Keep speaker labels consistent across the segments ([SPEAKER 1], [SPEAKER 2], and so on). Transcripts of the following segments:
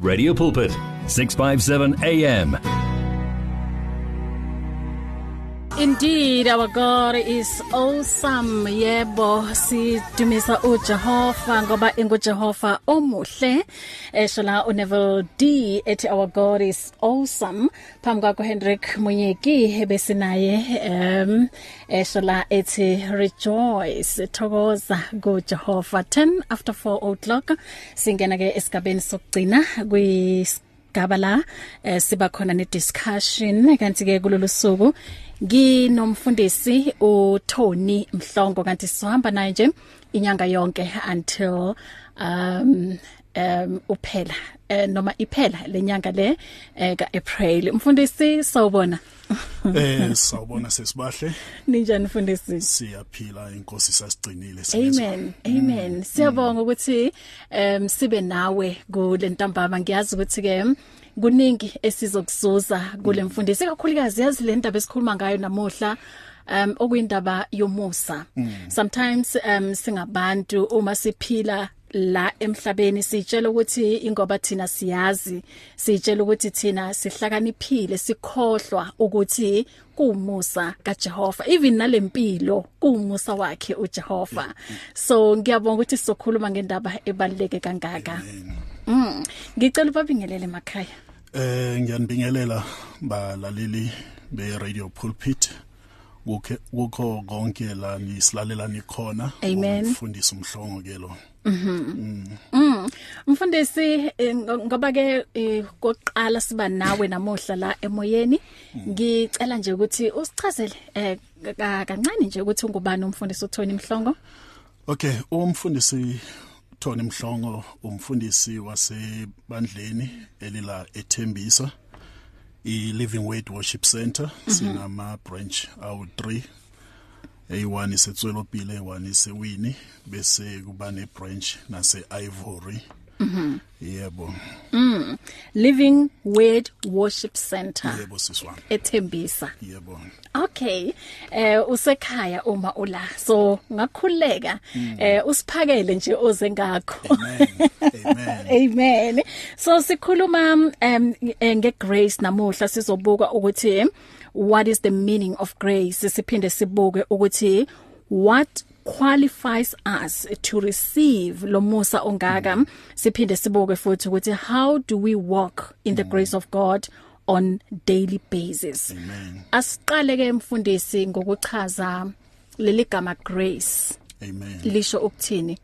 [SPEAKER 1] Radio Pulpit, 657 AM.
[SPEAKER 2] Indeed our God is awesome yebo sidumisa uJehova ngoba inguJehova omuhle esho la uNevel D ethi our God is awesome phambi kwakho Hendrik Munyeki ebese naye um esho la ethi rejoice thokoza kuJehova 10 after 4 o'clock singena ke esigabeni sokugcina kwi gaba la eh, siba khona ne discussion kanti ke kulolu suku nginomfundisi uThoni Mhlongo kanti sizohamba naye nje inyanga yonke until um um uphela eh, noma iphela lenyanga le eh, ka April mfundisi sawubona
[SPEAKER 3] Eh sawubona sesibahle
[SPEAKER 2] ninjani mfundisi
[SPEAKER 3] siyaphila inkosi sasigcinile
[SPEAKER 2] Amen. Amen. Siyabonga ukuthi em sibe nawe kule ntambama ngiyazi ukuthi ke kuningi esizokuzuza kule mfundisi kakhulukazi yazi le ndaba esikhuluma ngayo namuhla um okuyindaba yomusa. Sometimes um singabantu uma siphila la emhlabeni sitshela ukuthi ingoba thina siyazi sitshela ukuthi thina sihlakaniphile sikhohlwa ukuthi kuumusa kaJehova even nalempilo kuumusa wakhe uJehova so ngiyabonga ukuthi sizokhuluma ngendaba ebaluleke kangaka mm ngicela ubabingelele emakhaya
[SPEAKER 3] Eh ngiyanibingelela balaleli be Radio Pulpit kukhe kukho konke la nisilalela nikhona
[SPEAKER 2] Amen.
[SPEAKER 3] umfundisi umhlongo ke lo
[SPEAKER 2] mfundisi eh, ngo- ngoba ke eh, koqala siba nawe namuhla la emoyeni ngicela nje ukuthi usichazele eh, ka- kancane nje ukuthi ungubani umfundisi uThoni Mhlongo
[SPEAKER 3] Okay umfundisi Thoni Mhlongo umfundisi wasebandleni elila eThembisa i Living Word Worship Center sinama branch awu 3 A1 isetswelo pile A1 isewini bese kuba ne branch nase Ivory yebo
[SPEAKER 2] Living Word Worship Center
[SPEAKER 3] yebo siswana
[SPEAKER 2] ethembisa
[SPEAKER 3] yebo
[SPEAKER 2] Okay. Eh usekhaya uma ula. So ngakhuleka eh usiphakele nje oze ngakho.
[SPEAKER 3] amen amen
[SPEAKER 2] Amen. So sikhuluma um eh, ngegrace namuhla sizobuka ukuthi what is the meaning of grace? Siphinde sibuke ukuthi what qualifies us to receive lomusa ongaka siphinde sibuke futhi ukuthi how do we walk in the grace of God on daily basis
[SPEAKER 3] Mm. Amen.
[SPEAKER 2] asiqale ke mfundisi ngokuchaza leli gama grace
[SPEAKER 3] amen
[SPEAKER 2] lisho ukuthini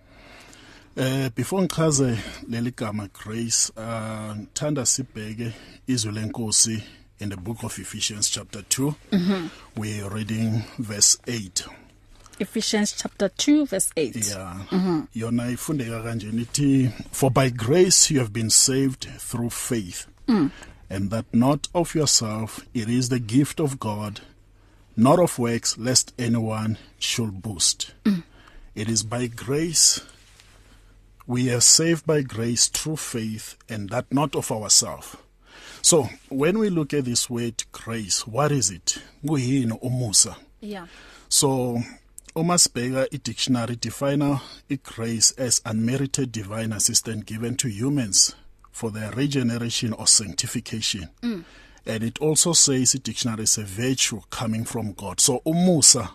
[SPEAKER 3] Eh before ngichaze leli gama grace ah ngithanda sibheke izwi lenkosi in the book of Ephesians chapter 2 mhm we are reading verse 8
[SPEAKER 2] Ephesians chapter 2 verse 8
[SPEAKER 3] yeah yona ifundeka kanje nithi for by grace you have been saved through faith mm. and that not of yourself it is the gift of God not of works lest anyone should boast mm. it is by grace we are saved by grace through faith and that not of ourselves so when we look at this word grace what is it kuyini umusa
[SPEAKER 2] yeah
[SPEAKER 3] So uma sibheka i-dictionary definer i-grace as unmerited divine assistance given to humans for their regeneration or sanctification. Mm. And it also says i-dictionary is a virtue coming from God. So umusa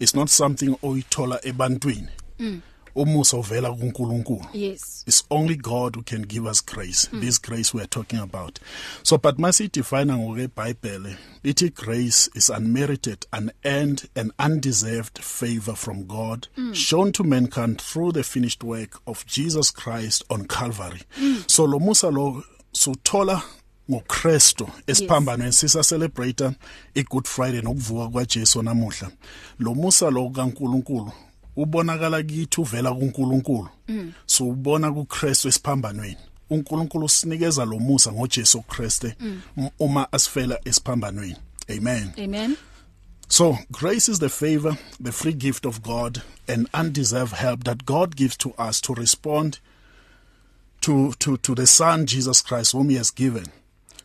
[SPEAKER 3] is not something oyithola ebantwini. Mm. Umusa uvela kuNkulunkulu.
[SPEAKER 2] yes
[SPEAKER 3] It's only God who can give us grace. Mm. This grace we are talking about. So but masi define ngeBhayibheli, ithi grace is unmerited, unearned and undeserved favor from God mm. shown to mankind through the finished work of Jesus Christ on Calvary. Mm. So lo musa lo suthola ngoKristu esiphambanweni sisa celebrate iGood Friday nokuvuka kwaJesu namuhla. Lo musa lo kaNkuluNkulu ubonakala kithi uvela kuNkulunkulu so ubona kuKristu esiphambanweni uNkulunkulu usinikeza lo musa ngoJesu Kriste m- uma asifela esiphambanweni amen
[SPEAKER 2] amen
[SPEAKER 3] so grace is the favor the free gift of God and undeserved help that God gives to us to respond to to to the son Jesus Christ whom he has given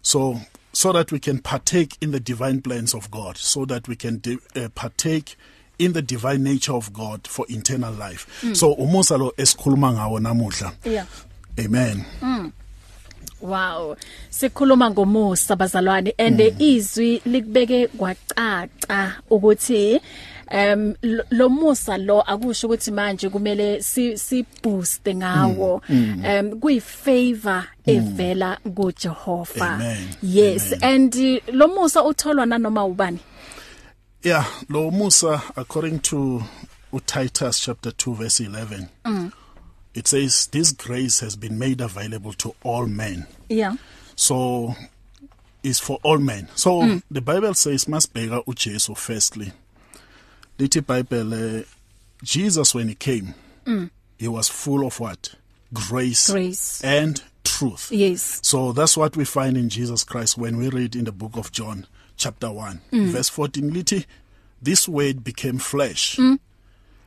[SPEAKER 3] so so that we can partake in the divine plans of God so that we can di- uh, partake in the divine nature of God for eternal life mm. so umusa lo esikhuluma ngawo namuhla
[SPEAKER 2] yeah
[SPEAKER 3] amen
[SPEAKER 2] Wow. Sikhuluma ngomusa bazalwane and izwi likubeke kwacaca ukuthi em lo- lo musa lo akusho ukuthi manje kumele si si boost ngawo em kuyi favor evela kuJehova.
[SPEAKER 3] Amen.
[SPEAKER 2] Yes and uh, lo musa utholwa nanoma ubani.
[SPEAKER 3] Yeah, lo Musa according to Titus chapter 2 verse 11. It says this grace has been made available to all men.
[SPEAKER 2] Yeah.
[SPEAKER 3] So is for all men. So the Bible says masibheka uJesu firstly. Lithi iBhayibheli eh, Jesus when he came, he was full of what? Grace,
[SPEAKER 2] Grace.
[SPEAKER 3] and truth.
[SPEAKER 2] Yes.
[SPEAKER 3] So that's what we find in Jesus Christ when we read in the book of John, chapter 1, verse 14. Liti, this word became flesh,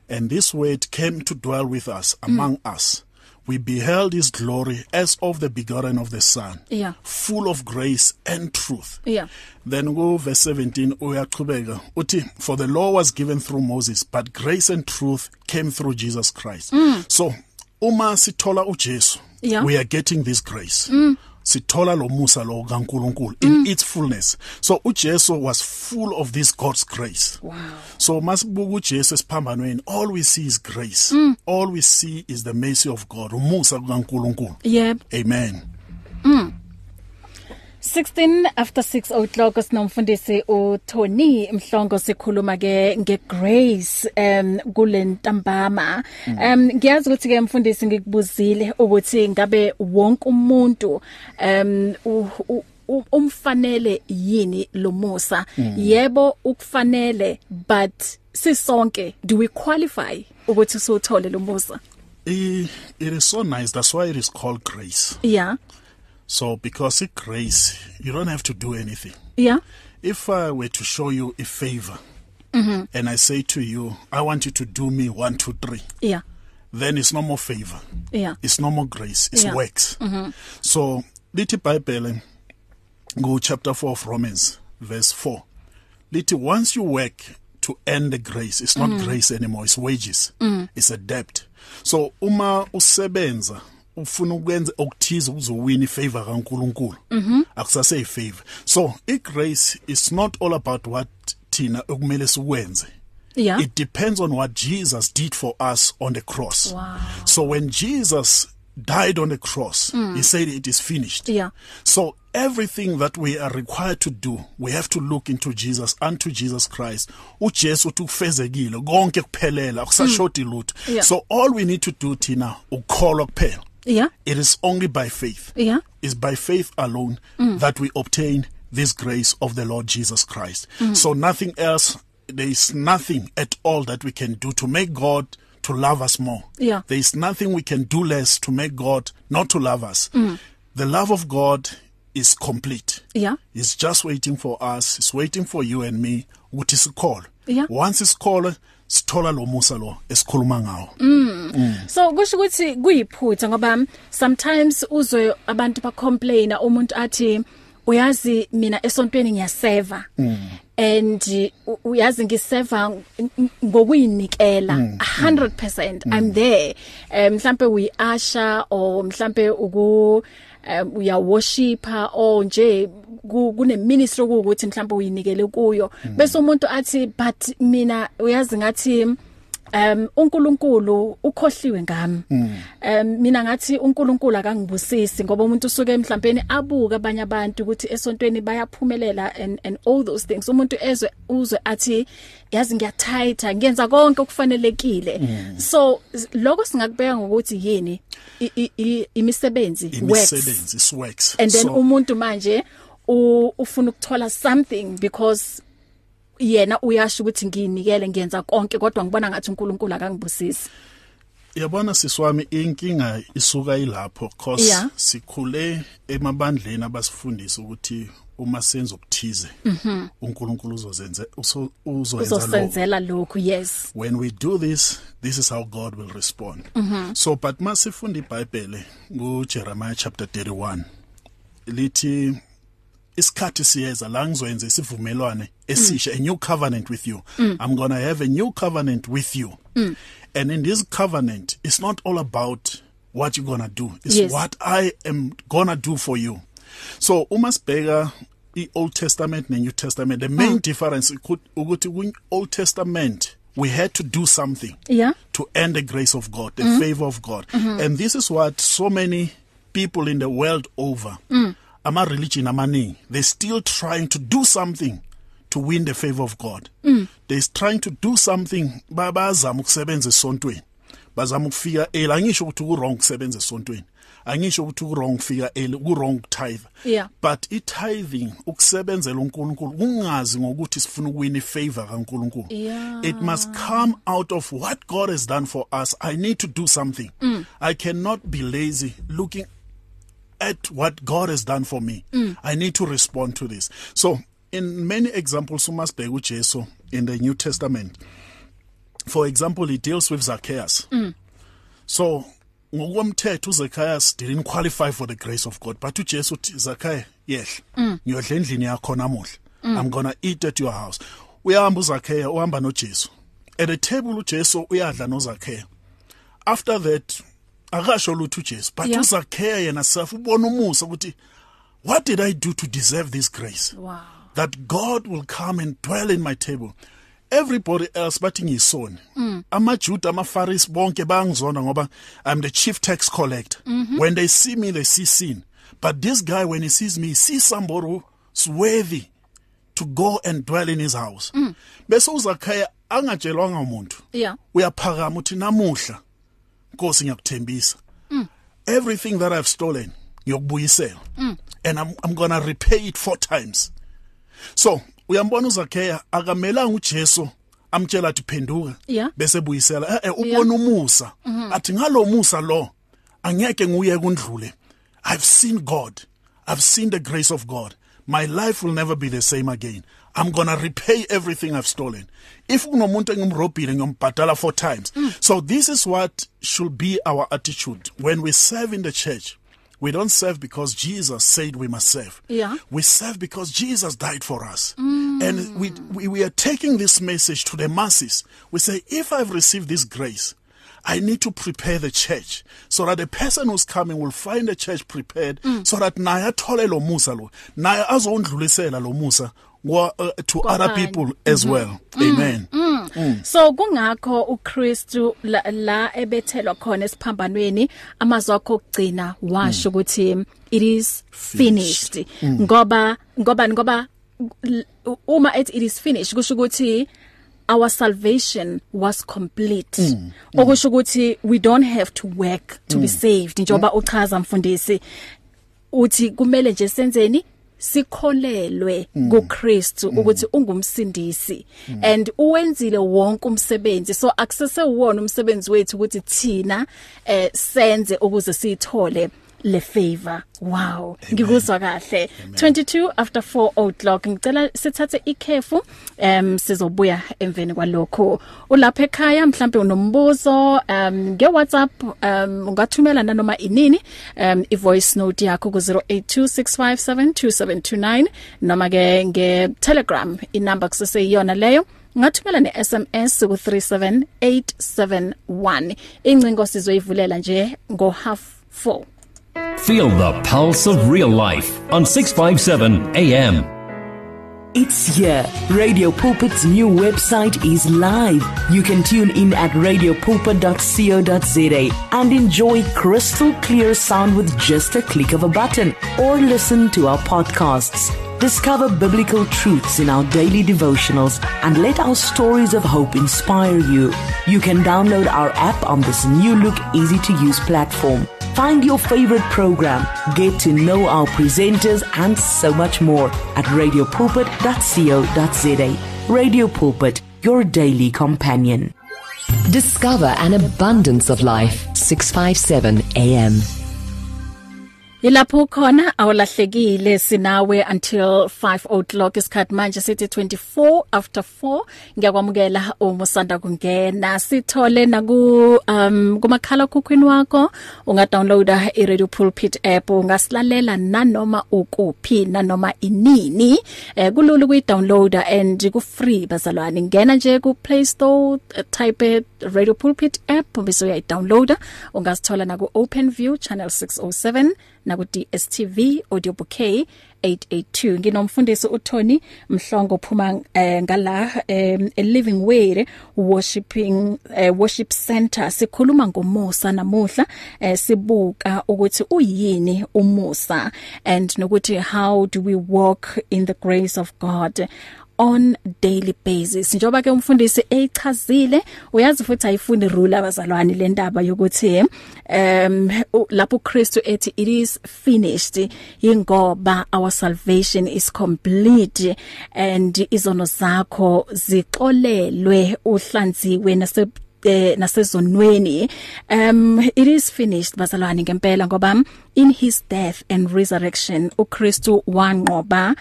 [SPEAKER 3] and this word came to dwell with us, among us. We beheld his glory as of the begotten of the Son,
[SPEAKER 2] Yeah.
[SPEAKER 3] full of grace and truth.
[SPEAKER 2] Yeah.
[SPEAKER 3] Then go verse 17 uyaqhubeka uthi for the law was given through Moses but grace and truth came through Jesus Christ. So uma sithola uJesu
[SPEAKER 2] Yeah.
[SPEAKER 3] we are getting this grace. Sithola lo musa lo kaNkuluNkulu in its fullness. So uJesu was full of this God's grace.
[SPEAKER 2] Wow.
[SPEAKER 3] So masibuka uJesu esiphambanweni all we see is grace. All we see is the mercy of God, umusa kaNkuluNkulu.
[SPEAKER 2] Yep.
[SPEAKER 3] Amen.
[SPEAKER 2] 16 after 6 o'clock sinomfundisi uThoni Mhlongo sikhuluma ke ngegrace um kulentambama um ngiyazi ukuthi ke mfundisi ngikubuzile ukuthi ngabe wonke umuntu um u- u- u- umfanele yini lo Musa yebo ukufanele but sisonke do we qualify ukuthi sothole lo Musa
[SPEAKER 3] I- It is so nice that's why it is called grace.
[SPEAKER 2] yeah
[SPEAKER 3] So, because it's grace, you don't have to do anything.
[SPEAKER 2] yeah
[SPEAKER 3] If I were to show you a favor and I say to you, I want you to do me one, two, three,
[SPEAKER 2] yeah
[SPEAKER 3] then it's no more favor,
[SPEAKER 2] yeah
[SPEAKER 3] it's no more grace, it's
[SPEAKER 2] Yeah.
[SPEAKER 3] works. So, little Bible, go chapter 4 of Romans, verse 4. Little, once you work to earn the grace, it's not grace anymore, it's wages, it's a debt. So, uma usebenza, ufuna ukwenza okuthize ukuze uwine ifavor kaNkuluNkulu akusase ifavor so igrace is not all about what thina okumele sikwenze
[SPEAKER 2] yeah
[SPEAKER 3] it depends on what Jesus did for us on the cross.
[SPEAKER 2] Wow.
[SPEAKER 3] So when Jesus died on the cross,
[SPEAKER 2] Hmm.
[SPEAKER 3] he said it is finished.
[SPEAKER 2] Yeah.
[SPEAKER 3] So everything that we are required to do, we have to look into Jesus and to Jesus Christ. UJesu tukufezekile konke kuphelela akusashoti lutho.
[SPEAKER 2] Hmm. Yeah.
[SPEAKER 3] So all we need to do thina ukholwa kuphela.
[SPEAKER 2] yeah
[SPEAKER 3] It is only by faith.
[SPEAKER 2] yeah
[SPEAKER 3] It's by faith alone
[SPEAKER 2] Mm.
[SPEAKER 3] that we obtain this grace of the Lord Jesus Christ.
[SPEAKER 2] Mm.
[SPEAKER 3] So nothing else, there is nothing at all that we can do to make God to love us more.
[SPEAKER 2] Yeah.
[SPEAKER 3] There is nothing we can do less to make God not to love us.
[SPEAKER 2] Mm.
[SPEAKER 3] The love of God is complete.
[SPEAKER 2] yeah
[SPEAKER 3] It's just waiting for us. It's waiting for you and me. ukuthi sikhole.
[SPEAKER 2] Yeah.
[SPEAKER 3] Once isikhole, sithola lo musa lo esikhuluma ngawo.
[SPEAKER 2] Mm, so kusho ukuthi kuyiphutha ngoba sometimes uzwe abantu ba complain umuntu athi uyazi mina esontweni ngiyaserva and u- uyazi ngiserva ng- ng- ngokuyinikela 100% i'm there Eh, mhlambe we usher or mhlambe uku um, uya worshipa or nje ku- kune ministry ukuthi mhlambe uyinikele kuyo bese umuntu athi but mina uyazi ngathi um uNkulunkulu ukhohliwe ngami um mina ngathi uNkulunkulu akangibusisi ngoba umuntu usuke mhlambeni abuka abanye abantu ukuthi esontweni bayaphumelela and and all those things umuntu ezwe uzwe athi yazi ngiyathayitha ngiyenza konke okufanelekile so s- lokho singakubeka ngokuthi yini I- i- i- imisebenzi works
[SPEAKER 3] Imisebenzi is works.
[SPEAKER 2] and then
[SPEAKER 3] So-
[SPEAKER 2] umuntu manje u- ufuna ukuthola something because yena uyasho ukuthi ngiyinikele ngiyenza konke kodwa ngibona ngathi uNkulunkulu akangibusisi
[SPEAKER 3] yabona siswami inkinga isuka ilapho because
[SPEAKER 2] Yeah.
[SPEAKER 3] sikhule emabandleni abasifundisa ukuthi uma senza ukuthize uNkulunkulu uzozenze uso- uzoyenza lo
[SPEAKER 2] uzosenzela lokhu yes
[SPEAKER 3] when we do this this is how God will respond so but masifunda iBhayibheli kuJeremiah chapter 31 lithi isikhathi siyeza la ngizoyenza isivumelwane esisha a new covenant with you i'm going to have a new covenant with you and in this covenant it's not all about what you're going to do. It's
[SPEAKER 2] Yes.
[SPEAKER 3] what I am going to do for you. So uma sibheka iOld Testament neNew Testament the main difference ikut- ukuthi kwiOld Testament we had to do something
[SPEAKER 2] Yeah.
[SPEAKER 3] to earn the grace of God, the favor of God. And this is what so many people in the world over, ama religion amaningi, they're still trying to do something to win the favor of God. They're trying to do something ba- bayazama ukusebenza esontweni. Bazama ukufika early. Angisho ukuthi ku-wrong kusebenza esontweni. Angisho ukuthi ku-wrong fika early, ku-wrong tithe.
[SPEAKER 2] Yeah.
[SPEAKER 3] But i-tithing ukusebenzela uNkulunkulu kungazi ngokuthi sifuna ukuwina i-favor kaNkulunkulu.
[SPEAKER 2] Yeah.
[SPEAKER 3] It must come out of what God has done for us. I need to do something. I cannot be lazy looking at what God has done for me. I need to respond to this. So, in many examples, umasibheka uJesu in the New Testament. For example, he deals with Zacchaeus. So, ngokomthetho uZacchias didn't qualify for the grace of God, but uJesu uthi Zacchaeus, yes, ngiyodla endlini yakho namuhla. I'm going to eat at your house. Uyahamba uZakhaya uhamba noJesu. At the table uJesu uyadla noZakhaya. After that, akasho lutho uJesu, but
[SPEAKER 2] Yeah.
[SPEAKER 3] uZakhaya yena self ubona umusa ukuthi what did I do to deserve this grace?
[SPEAKER 2] Wow.
[SPEAKER 3] that God will come and dwell in my table. Everybody else bathi ngiyisoni. AmaJuda amaFarisi bonke bayangizona ngoba I'm the chief tax collector. When they see me they see sin. But this guy when he sees me he sees somebody who's worthy to go and dwell in his house. Bese uZakhaya angatshelwanga umuntu.
[SPEAKER 2] Yeah.
[SPEAKER 3] Uyaphakama uthi namuhla Nkosi ngiyakuthembisa. Everything that I've stolen ngiyokubuyisela. And I'm I'm going to repay it four times. So uyambona uZakhaya akamelanga uJesu amtshela athi phenduka
[SPEAKER 2] Yeah.
[SPEAKER 3] bese buyisela eh eh, ubona umusa athi ngalomusa lo angeke nguye kundlule I've seen God I've seen the grace of God my life will never be the same again I'm going to repay everything I've stolen if kunomuntu engimrobhile ngiyombhadala four times so this is what should be our attitude when we serve in the church we don't serve because Jesus said we must serve
[SPEAKER 2] Yeah.
[SPEAKER 3] we serve because Jesus died for us. And we, we, we are taking this message to the masses. We say, if I've received this grace, I need to prepare the church so that the person who's coming will find the church prepared so that naye athole lo musa lo naye azondlulisela lo musa wa- uh, to other
[SPEAKER 2] Kwabanye.
[SPEAKER 3] people as well amen
[SPEAKER 2] so kungakho uKristu la, la ebethelwa khona esiphambanweni amazwi akho okugcina washo ukuthi it is finished ngoba ngoba ngoba l- uma ethi it is finished kusho ukuthi our salvation was complete okusho ukuthi we don't have to work to be saved njoba uchaza mfundisi uthi kumele nje senzeni sikholelwe kuKristu ukuthi ungumsindisi and uwenzile wonke umsebenzi so akusese wona umsebenzi wethu ukuthi thina eh senze ukuze sithole le favor wow ngikuzwa kahle 22 after 4 o'clock ngicela sithathe ikhefu em sizobuya emveni kwalokho ulapha ekhaya mhlambe unombuzo em nge WhatsApp em ungathumela nanoma inini em i voice note yakho ku 0826572729 noma ke nge Telegram inamba kusese iyona leyo ngathumela ne SMS ku 37871 incingo sizoyivulela nje ngo half 4
[SPEAKER 1] Feel the pulse of real life on 657 AM.
[SPEAKER 4] It's here. Radio Pulpit's new website is live. You can tune in at radiopulpit.co.za and enjoy crystal clear sound with just a click of a button or listen to our podcasts. Discover biblical truths in our daily devotionals and let our stories of hope inspire you. You can download our app on this new look easy to use platform. Find your favorite program, get to know our presenters, and so much more at radiopulpit.co.za. Radio Pulpit, your daily companion.
[SPEAKER 5] Discover an abundance of life. 657 AM.
[SPEAKER 2] Yilapho khona awulahlekile sinawe until 5 o'clock isikhathi manje sithi 24 after 4 ngiyakwamukela uma usanda kungena sithole naku um kumakhala kokwini wakho ungadownloada iRadio Pulpit app ungasilalela nanoma ukuphi nanoma inini eh kululu kuyidownloada and ku free bazalwane ngena nje ku Play Store eh, type Radio Pulpit app bese uyayidownloada ungasithola na ku OpenView channel 607 na ku DSTV audio bouquet 882 nginomfundisi uThoni Mhlongo phuma eh, ngala eh, a living way worshiping eh, worship center sikhuluma ngomusa namuhla eh, sibuka ukuthi uyini umusa and nokuthi how do we walk in the grace of God on daily basis njoba ke umfundisi echazile uyazi futhi ayifundi rule abazalwane lendaba yokuthi um u- lapho uKristu ethi it is finished ingoba our salvation is complete and izono zakho zixolelwe uhlanziwe nase eh nasezonweni um it is finished bazalwane ngempela ngoba in his death and resurrection uKristu wanqoba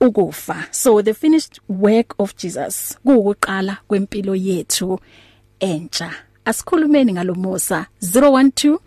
[SPEAKER 2] ukufa so the finished work of Jesus kuuqala kwempilo yethu entsha asikhulumeni ngalomusa 012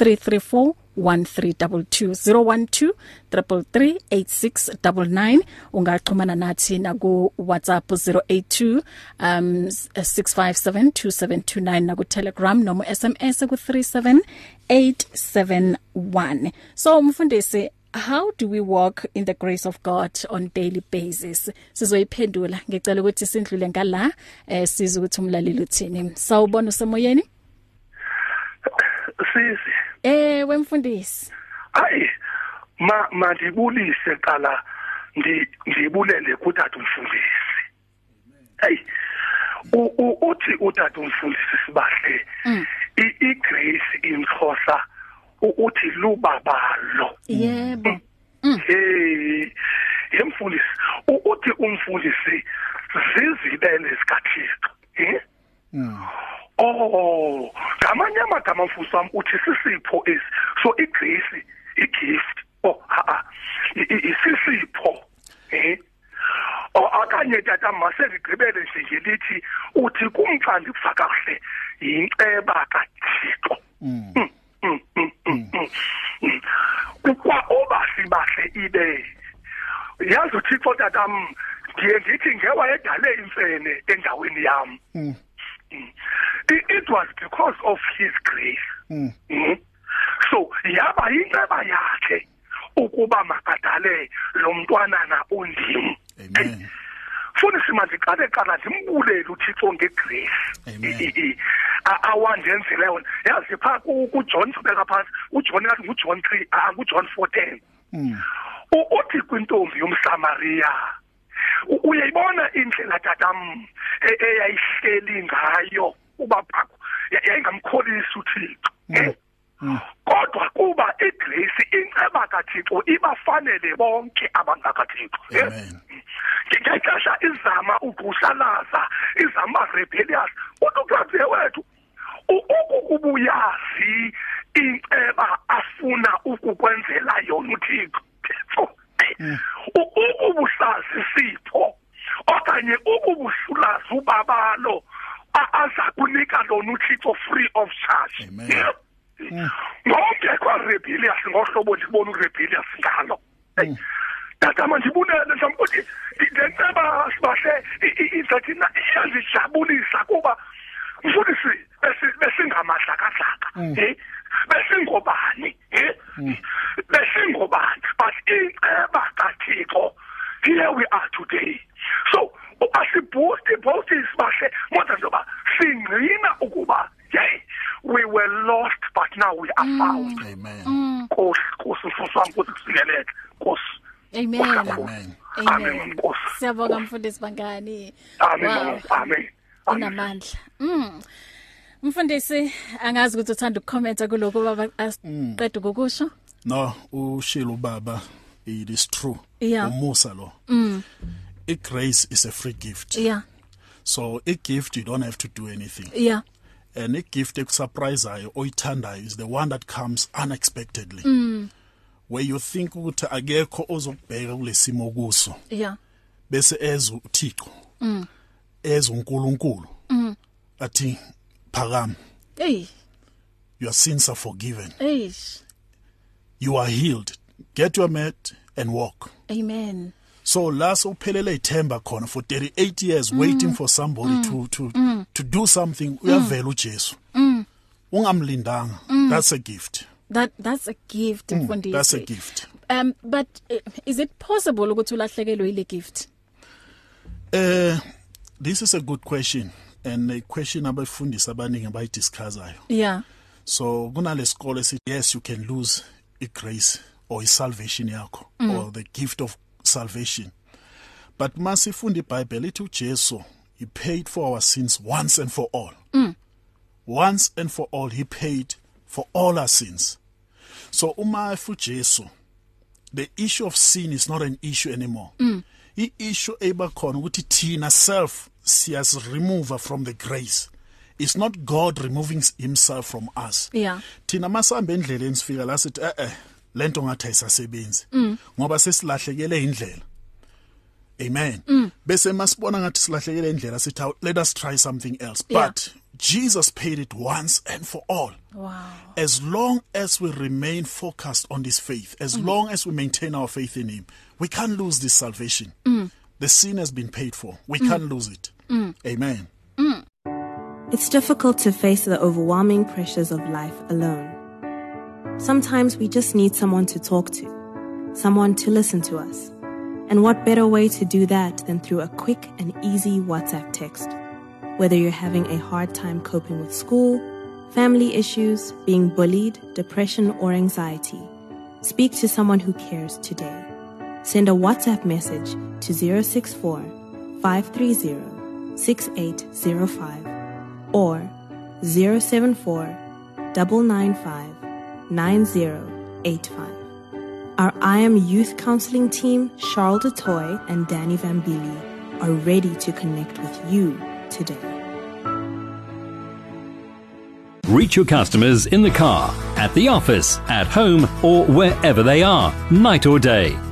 [SPEAKER 2] 334 1322 012338699 ungaxhumana nathi na ku WhatsApp 082 um 6572729 na ku Telegram noma SMS ku 37871 so umfundisi how do we walk in the grace of God on daily basis sizoyiphendula ngicela ukuthi sindlule ngala eh siza ukuthi umlaleli uthini sawubona usemoyeni
[SPEAKER 5] sisi
[SPEAKER 2] eh wemfundisi
[SPEAKER 5] hayi ma mandibulise qala ndi ndibulele kutata umfundisi hey u- u- uthi utata umfundisi sibahle i- igrace imkhosa ukuthi lubabalo
[SPEAKER 2] yebo
[SPEAKER 5] hey emfundisi u- uthi umfundisi zizibele zikaThixo eh Oh, ngamanye amagama mfuso wami uthi sisipho is so igrace igift oh ha ha I- i- isisipho eh Oh akanye tata mase ligqibele nje nje lithi uthi kumthandi kufaka kahle inceba kaThixo Mm, mm, mm, mm, mm. Ukwa oba sibahle ibe yazi uThixo tata m ndiye ngithi ngewayedale imfene endaweni yami Mm. It, it was because of his grace. Mm. Mm. So yaba inceba yakhe ukuba makadale lo mntwana na undim.
[SPEAKER 3] Amen.
[SPEAKER 5] Funa simaziqale qala simbulele uThixo ngegrace.
[SPEAKER 3] Amen.
[SPEAKER 5] I- i- i- a- awandenzele yona. Yazi pha ku- kuJohn sibeka phansi. uJohn kathi nguJohn 3, ah kuJohn 4:10. U- uthi kwintombi yomsamaria u- uyayibona indlela tatam e- eyayihleli ngayo ubabakho Ya- yayingamkholisi uthixo eh? kodwa kuba igrace inceba kathixo ibafanele bonke abangakathixo eh?
[SPEAKER 3] Amen.
[SPEAKER 5] ngexesha izama ukuhlalaza izama rebellious uthi ugrazie wethu u- ukukubuyazi inceba afuna ukukwenzela yona uthixo Thixo, u- ukubuhlazi sipho okanye ukubuhlulazi ubabalo a- aza kunika lona uthixo free of charge
[SPEAKER 3] Amen.
[SPEAKER 5] ngonke kwarebelias ngohlobo ndibona urebelias ngalo Hey, tata mandibulele mhlawumbi ukuthi i- le nceba sibahle i- i- izathina iyazijabulisa kuba mfundisi besi- besingamahlakahlaka eh? besingobani eh? besingobani but inceba kathixo here we are today so asibhuti bhuti sibahle moda njengoba singqina ukuba hey we were lost but now we
[SPEAKER 2] Mm.
[SPEAKER 5] are found
[SPEAKER 3] Amen.
[SPEAKER 5] nkosi nkosi mfusi wami ukuthi kusingeleke nkosi
[SPEAKER 2] Amen.
[SPEAKER 3] Amen.
[SPEAKER 2] Amen.
[SPEAKER 5] Amen, Nkosi.
[SPEAKER 2] Siyabonga mfundisi bangani.
[SPEAKER 5] amen
[SPEAKER 2] Wow,
[SPEAKER 5] mama, amen amen
[SPEAKER 2] Unamandla. Mm. Mfundisi angazi ukuthi uthanda ukukhomenta kuloko baba asiqeda ukukusho.
[SPEAKER 3] No, ushilo baba it is true.
[SPEAKER 2] Yeah.
[SPEAKER 3] Umusa lo. Mm. I grace is a free gift.
[SPEAKER 2] Yeah.
[SPEAKER 3] So i gift you don't have to do anything.
[SPEAKER 2] Yeah.
[SPEAKER 3] Mm. and igift ekusurprisayo oyithandayo is the one that comes unexpectedly where you think ukuthi akekho ozokubheka kulesimo kuso
[SPEAKER 2] yeah
[SPEAKER 3] bese ezwe uThixo mm ezwe uNkulunkulu mm athi phakama
[SPEAKER 2] hey
[SPEAKER 3] your sins are forgiven
[SPEAKER 2] hey
[SPEAKER 3] you are healed get your mat and walk
[SPEAKER 2] amen
[SPEAKER 3] so laso uphelele ithemba khona for 38 years mm. waiting for somebody mm. to to mm. to do something uyavela uJesu ungamlindanga that's a gift
[SPEAKER 2] that that's a gift mfundisi
[SPEAKER 3] that's a gift
[SPEAKER 2] um but uh, is it possible ukuthi ulahlekelwe ile gift
[SPEAKER 3] eh this is a good question and a question abafundisi abaningi abayidiscussayo
[SPEAKER 2] yeah
[SPEAKER 3] so kunalesikole esithi yes you can lose igrace or isalvation yakho mm. or the gift of salvation but masifunda iBhayibheli ithi uJesu he paid for our sins once and for all mm. once and for all he paid for all our sins so uma uJesu the issue of sin is not an issue anymore mm. i issue ebakhona ukuthi thina self siyas remove from the grace it's not god removing himself from us
[SPEAKER 2] yeah
[SPEAKER 3] thina masihamba endleleni sifika la sithi eh eh lento ngathi ayisasebenzi ngoba sesilahlekele indlela amen bese masibona ngathi silahlekele indlela sithi "Awu, let us try something else
[SPEAKER 2] Yeah.
[SPEAKER 3] but jesus paid it once and for all
[SPEAKER 2] wow
[SPEAKER 3] as long as we remain focused on this faith as long as we maintain our faith in him we can't lose this salvation the sin has been paid for we can't lose it amen
[SPEAKER 6] It's difficult to face the overwhelming pressures of life alone. Sometimes we just need someone to talk to, someone to listen to us. And what better way to do that than through a quick and easy WhatsApp text? Whether you're having a hard time coping with school, family issues, being bullied, depression, or anxiety, speak to someone who cares today. Send a WhatsApp message to 064 530 6805 or 074 995 9085. Our I Am Youth Counseling team, Charles DeToy and Danny Vambili, are ready to connect with you today.
[SPEAKER 1] Reach your customers in the car, at the office, at home, or wherever they are, night or day.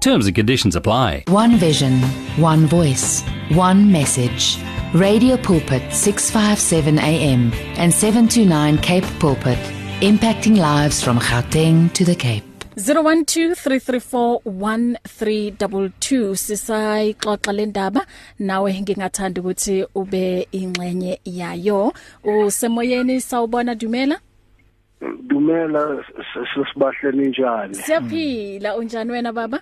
[SPEAKER 1] Terms and conditions apply.
[SPEAKER 7] One vision, one voice, one message. Radio Pulpit 657 AM and 729 Cape Pulpit, impacting lives from Gauteng to the Cape.
[SPEAKER 2] 0123341322 sisayixoxa lendaba nawe ngingathanda ukuthi ube ingxenye yayo usemoyeni sawubona dumela
[SPEAKER 8] dumela s- s- sisibahleni njani
[SPEAKER 2] siyaphila unjani wena baba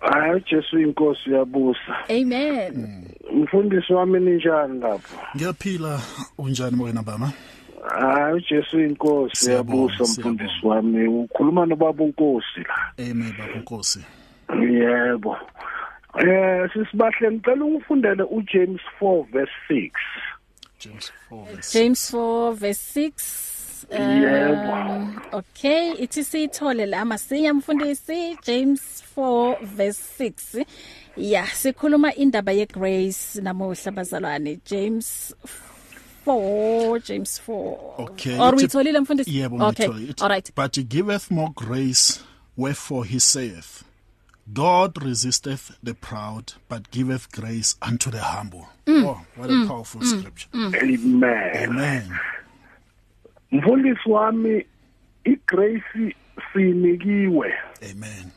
[SPEAKER 8] hayi Jesu inkosi uyabusa
[SPEAKER 2] amen
[SPEAKER 8] mfundisi wami ninjani lapho
[SPEAKER 3] ngiyaphila unjani wena baba
[SPEAKER 8] hayi Jesu inkosi
[SPEAKER 3] Siyabonga,
[SPEAKER 8] uyabusa mfundisi wami ukhuluma nobaba unkosi la
[SPEAKER 3] amen baba nkosi
[SPEAKER 8] yebo eh sisibahle ngicela ungifundele uJames 4 verse 6
[SPEAKER 3] James 4 verse
[SPEAKER 2] James 4 verse 6 um, okay ithi sithole la masinya mfundisi James 4 verse 6 yeah sikhuluma indaba ye grace namuhla bazalwane James 4 James 4
[SPEAKER 3] Okay.
[SPEAKER 2] or
[SPEAKER 3] ithi-
[SPEAKER 2] uyitholile mfundisi
[SPEAKER 3] Yebo,
[SPEAKER 2] okay
[SPEAKER 3] ngitholile. Ithi,
[SPEAKER 2] all right
[SPEAKER 3] But he giveth more grace, wherefore he saith, God resisteth the proud, but giveth grace unto the humble. Mm. Oh, what a mm. powerful mm. scripture. Mm.
[SPEAKER 8] amen
[SPEAKER 3] Amen.
[SPEAKER 8] mfundisi wami igrace sinikiwe
[SPEAKER 3] Amen.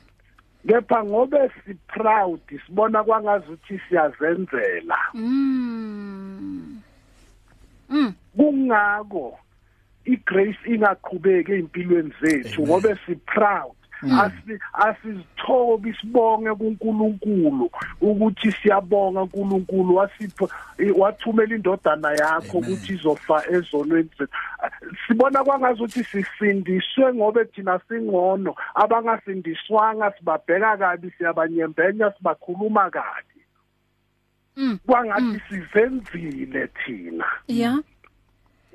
[SPEAKER 8] kepha ngobe si proud sibona kwangazuthi siyazenzela kungako igrace ingaqhubeki empilweni zethu
[SPEAKER 3] Amen.
[SPEAKER 8] ngobe si proud asi asizithobe sibonge kuNkulunkulu ukuthi siyabonga uNkulunkulu wasipha eh, wathumela indodana yakho ukuthi izofa ezonweni zethu Ah, sibona kwangazuthi sisindiswe ngobe thina singcono abangasindiswanga sibabheka kabi siyabanyembenya sibakhuluma kabi kwangathi sizenzile thina
[SPEAKER 2] yeah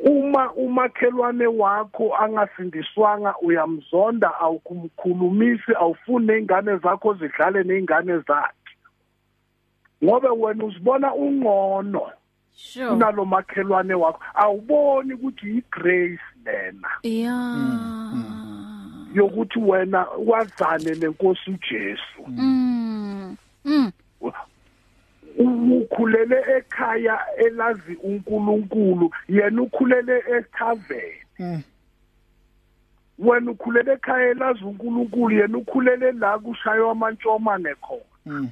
[SPEAKER 8] uma umakhelwane wakho angasindiswanga uyamzonda awukumkhulumisi awufuni neingane zakho zidlale neingane zakhe ngobe wena uzibona ungcono
[SPEAKER 2] sure
[SPEAKER 8] kunalo makhelwane wakho awuboni ukuthi yigrace lena
[SPEAKER 3] Mm,
[SPEAKER 2] yeah
[SPEAKER 8] yokuthi wena wazane nenkosi uJesu
[SPEAKER 2] mm mm
[SPEAKER 8] ukhulele ekhaya elazi uNkulunkulu yena ukhulele ethaveni wena ukhulele ekhaya elazi uNkulunkulu yena ukhulele la kushaywa amantshoma nekhona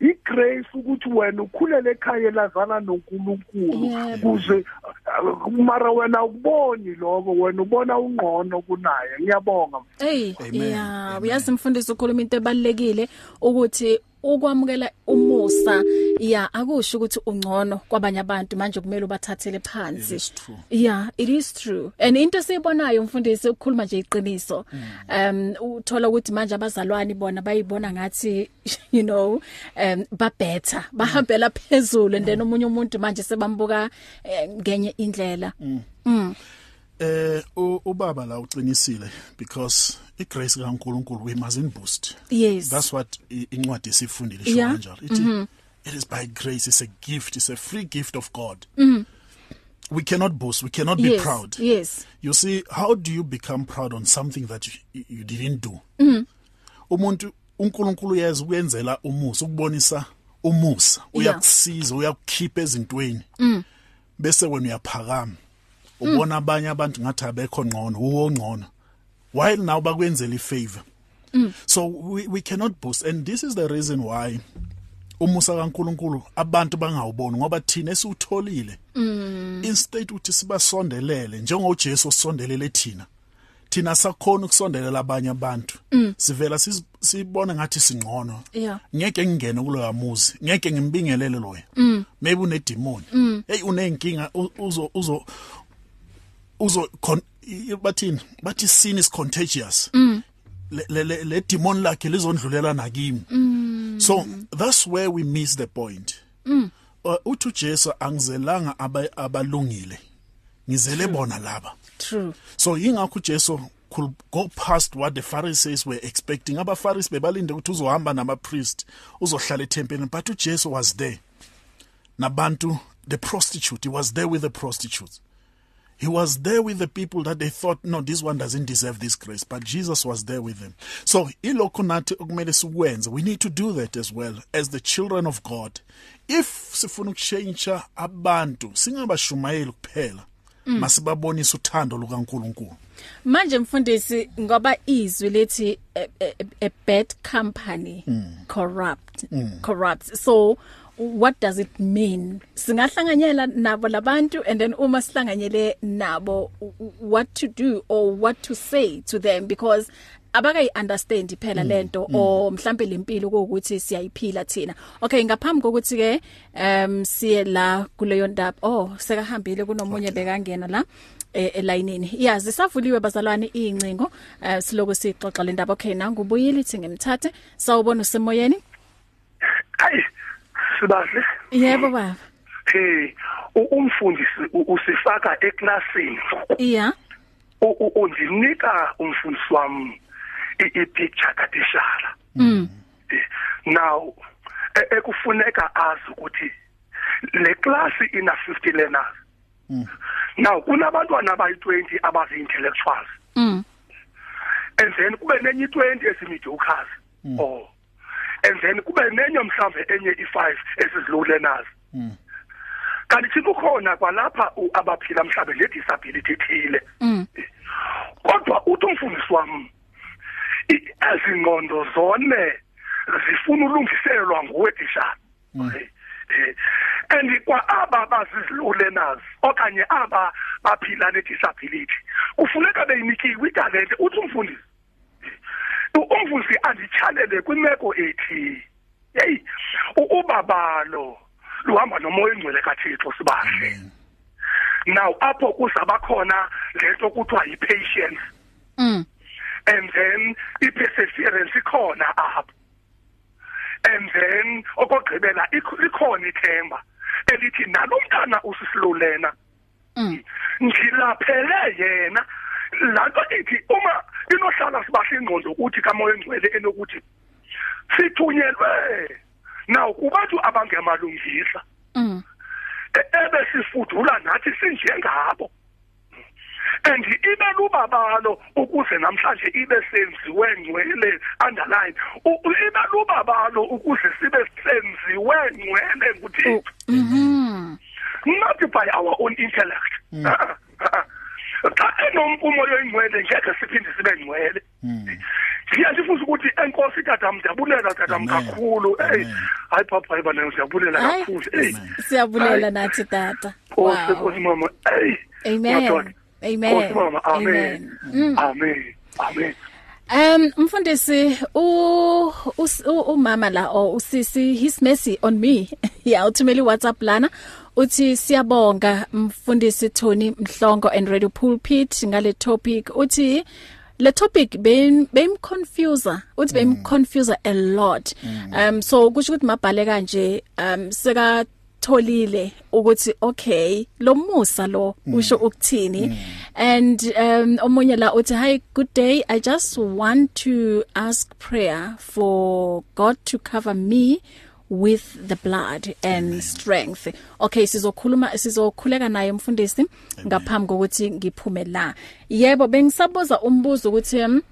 [SPEAKER 8] igrace ukuthi wena ukhulele ekhaya elazana noNkulunkulu
[SPEAKER 2] Yebo.
[SPEAKER 8] kuze uh, mara wena ukuboni lokho wena ubona ungqono kunaye ngiyabonga
[SPEAKER 2] Hey, yeah, uyazi mfundisi ukhuluma into ebalekile ukuthi ukwamukela umusa ya akusho ukuthi ungcono kwabanye abantu manje kumele ubathathele phansi.
[SPEAKER 3] It is true.
[SPEAKER 2] Yeah, it is true. And into siyibonayo mfundisi ukukhuluma nje iqiniso.
[SPEAKER 3] Mm.
[SPEAKER 2] Um uthola ukuthi manje abazalwane bona bayibona ngathi you know, um ba better,
[SPEAKER 3] Mm.
[SPEAKER 2] bahambela phezulu and then omunye umuntu manje sebambuka eh, ngenye indlela.
[SPEAKER 3] Mm. eh u- ubaba la uqinisile because igrace kaNkuluNkulu we mustn't boost
[SPEAKER 2] Yes.
[SPEAKER 3] that's what i- incwadi sifundile
[SPEAKER 2] Yeah. Mm-hmm.
[SPEAKER 3] shonjalo ithi it is by grace it's a gift it's a free gift of God mm. we cannot boast we cannot be
[SPEAKER 2] Mm-hmm. yes,
[SPEAKER 3] proud
[SPEAKER 2] Yes.
[SPEAKER 3] you see how do you become proud on something that you, you didn't do umuntu uNkulunkulu uyazi ukuyenzela umusa ukubonisa umusa
[SPEAKER 2] Yeah.
[SPEAKER 3] uyakusiza uyakukhipha ezintweni bese wena uyaphakama ubona abanye abantu ngathi abekho ngcono uwo ngcono while now bakwenzela ifavor so we, we cannot boast and this is the reason why umusa kaNkuluNkulu abantu bangawuboni ngoba thina esiutholile instead uthi sibasondelele njengoJesu osondelele thina thina sakhona ukusondelela abanye abantu sivela sis- sibona ngathi singcono
[SPEAKER 2] Yeah.
[SPEAKER 3] ngeke ngingene kuloya muzi ngeke ngimbingelele loya maybe unedemon hey unenkinga u- uzo uzo uzo con- i- bathini bathi sin is contagious le, le, le, le demon lakhe lizondlulela nakimi so that's where we miss the point uh, uthi uJesu angizelanga aba- abalungile ngizele bona laba
[SPEAKER 2] True.
[SPEAKER 3] so yingakho uJesu could go past what the Pharisees were expecting abaFarisi bebalinde ukuthi uzohamba namapriest uzohlala ethempelini but uJesu was there nabantu the prostitute he was there with the prostitutes he was there with the people that they thought no this one doesn't deserve this grace but Jesus was there with them so ilokho nathi okumele sikwenze we need to do that as well as the children of God if sifuna ukushintsha abantu singabashumayeli kuphela masibabonise uthando lukaNkuluNkulu
[SPEAKER 2] manje mfundisi ngoba izwi lethi a, a, a bad company mm. corrupt mm. corrupts so what does it mean singahlanganyela nabo labantu and then uma sihlanganyele nabo w- what to do or what to say to them because abakayi understand iphela lento or mhlambe lempilo ukuthi siyayiphila thina okay ngaphambi kokuthi ke um siye la kuleyo ndaba oh sekahambile kunomunye bekangena la eh, elayinini ya zisavuliwe bazalwane izincingo eh, siloko sixoxa le ndaba okay nangubuyile ithi ngimthathe sawubona usemoyeni
[SPEAKER 5] hayi sibahle
[SPEAKER 2] yebo baba
[SPEAKER 5] hey u- umfundisi u- usifaka eklasini
[SPEAKER 2] iya
[SPEAKER 5] U- u- undinika umfundisi wami i- i-picture katishara Eh, now e- ekufuneka azi ukuthi le class ina 50 learners now kunabantwana abayi20 abazi intellectuals
[SPEAKER 2] mm
[SPEAKER 5] and then kube nenye i20 esimediocres oh and then kube nenye mhlambe enye i5 esizlow learners kanti thina ukhona kwalapha u- abaphila mhlambe le disability ethile
[SPEAKER 2] mm
[SPEAKER 5] kodwa uthi umfundisi wami i- ezingqondo zone zifuna ulungiselelwa nguwe tishara eh and kwaaba bazizilule nazo okanye aba baphila ne disability kufuneka beyinikiwe italente uthi umfundisi eh, umfundisi anditshalele kwimeko ethi hey ubabalo luhamba nomoya engcwele kaThixo sibahle now apho kuzaba khona lento kuthiwa yipatience
[SPEAKER 2] Mm.
[SPEAKER 5] and then iperseverance ikhona apho and then okugqibela ikh- likhona ithemba elithi nalo mntana usisilulena
[SPEAKER 2] Mm.
[SPEAKER 5] ngilaphele yena lanto ithi uma inohlala sibahle ingqondo ukuthi kamoya engcwele enokuthi sithunyelwe naw kubantu abangemalungisa
[SPEAKER 2] Mm.
[SPEAKER 5] e- ebesifudula nathi sinjengabo and ibe lubabalo ukuze namhlanje ibe senziwe ngcwele underline U- u- ibe lubabalo ukuze sibe senziwe ngcwele nguthixo
[SPEAKER 2] Mhm.
[SPEAKER 5] not by our own intellect
[SPEAKER 3] Mm.
[SPEAKER 5] Uh-uh, uh-uh. xa enompumo yoyingcwele ngeke siphinde sibe ngcwele
[SPEAKER 3] Mm.
[SPEAKER 5] ndiye ndifuse ukuthi enkosi tatam ndiyabulela tatam
[SPEAKER 3] Amen.
[SPEAKER 5] kakhulu eyi
[SPEAKER 3] Amen.
[SPEAKER 5] hayi papa hayi bana ndiyabulela
[SPEAKER 2] Hayi,
[SPEAKER 5] kakhulu eyi
[SPEAKER 2] Siyabulela
[SPEAKER 5] Hayi.
[SPEAKER 2] nathi tata.
[SPEAKER 5] Nkosi,
[SPEAKER 2] Wow.
[SPEAKER 5] Nkosi mama. Hey.
[SPEAKER 2] Amen.
[SPEAKER 5] madoda. Nkosi
[SPEAKER 2] Amen.
[SPEAKER 5] mama. Amen.
[SPEAKER 2] Amen. Mm.
[SPEAKER 5] Amen. Amen.
[SPEAKER 2] Um mfundisi u us- u- umama la o usisi his mercy on me. yeah, ultimately WhatsApp lana uthi siyabonga mfundisi Tony Mhlongo and Radio Pulpit ngale topic uthi le topic bem bemconfuser uthi bemconfuser a lot. Um so kusho ukuthi mabhale kanje um seka tholile ukuthi okay lo musa lo usho ukuthini and um omunye la uthi hi good day i just want to ask prayer for god to cover me with the blood and strength okay sizokhuluma sizokhuleka naye mfundisi ngaphambi kokuthi ngiphume la yebo bengisabuza umbuzo ukuthi um,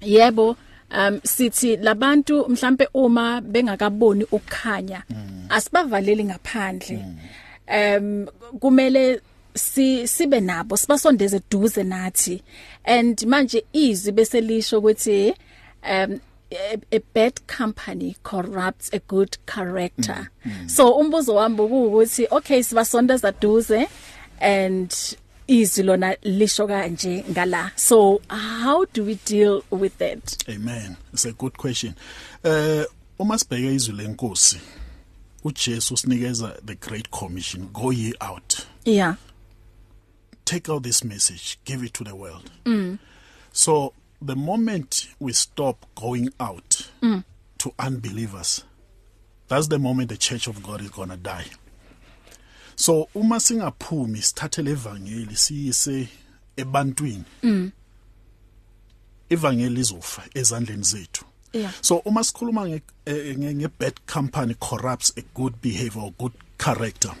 [SPEAKER 2] yebo um sithi labantu mhlambe uma bengakaboni ukukhanya asibavaleli ngaphandle um kumele si sibe nabo sibasondeze duze nathi and manje izwi bese lisho ukuthi um a, a bad company corrupts a good character mm. so umbuzo wami ukuthi okay sibasondeza duze and izwi lona lisho kanje ngala so how do we deal with that
[SPEAKER 3] Amen. It's a good question. Eh uma sibheke izwi lenkosi uJesu sinikeza the great commission go ye out.
[SPEAKER 2] yeah
[SPEAKER 3] Take out this message, give it to the world. Mm. So the moment we stop going out mm. to unbelievers that's the moment the church of God is going to die. So uma singaphumi sithathe levangeli siyise ebantwini. Mm. Evangeli izofa ezandleni zethu.
[SPEAKER 2] yeah
[SPEAKER 3] So uma sikhuluma nge eh, nge nge bad company corrupts a good behavior or good character.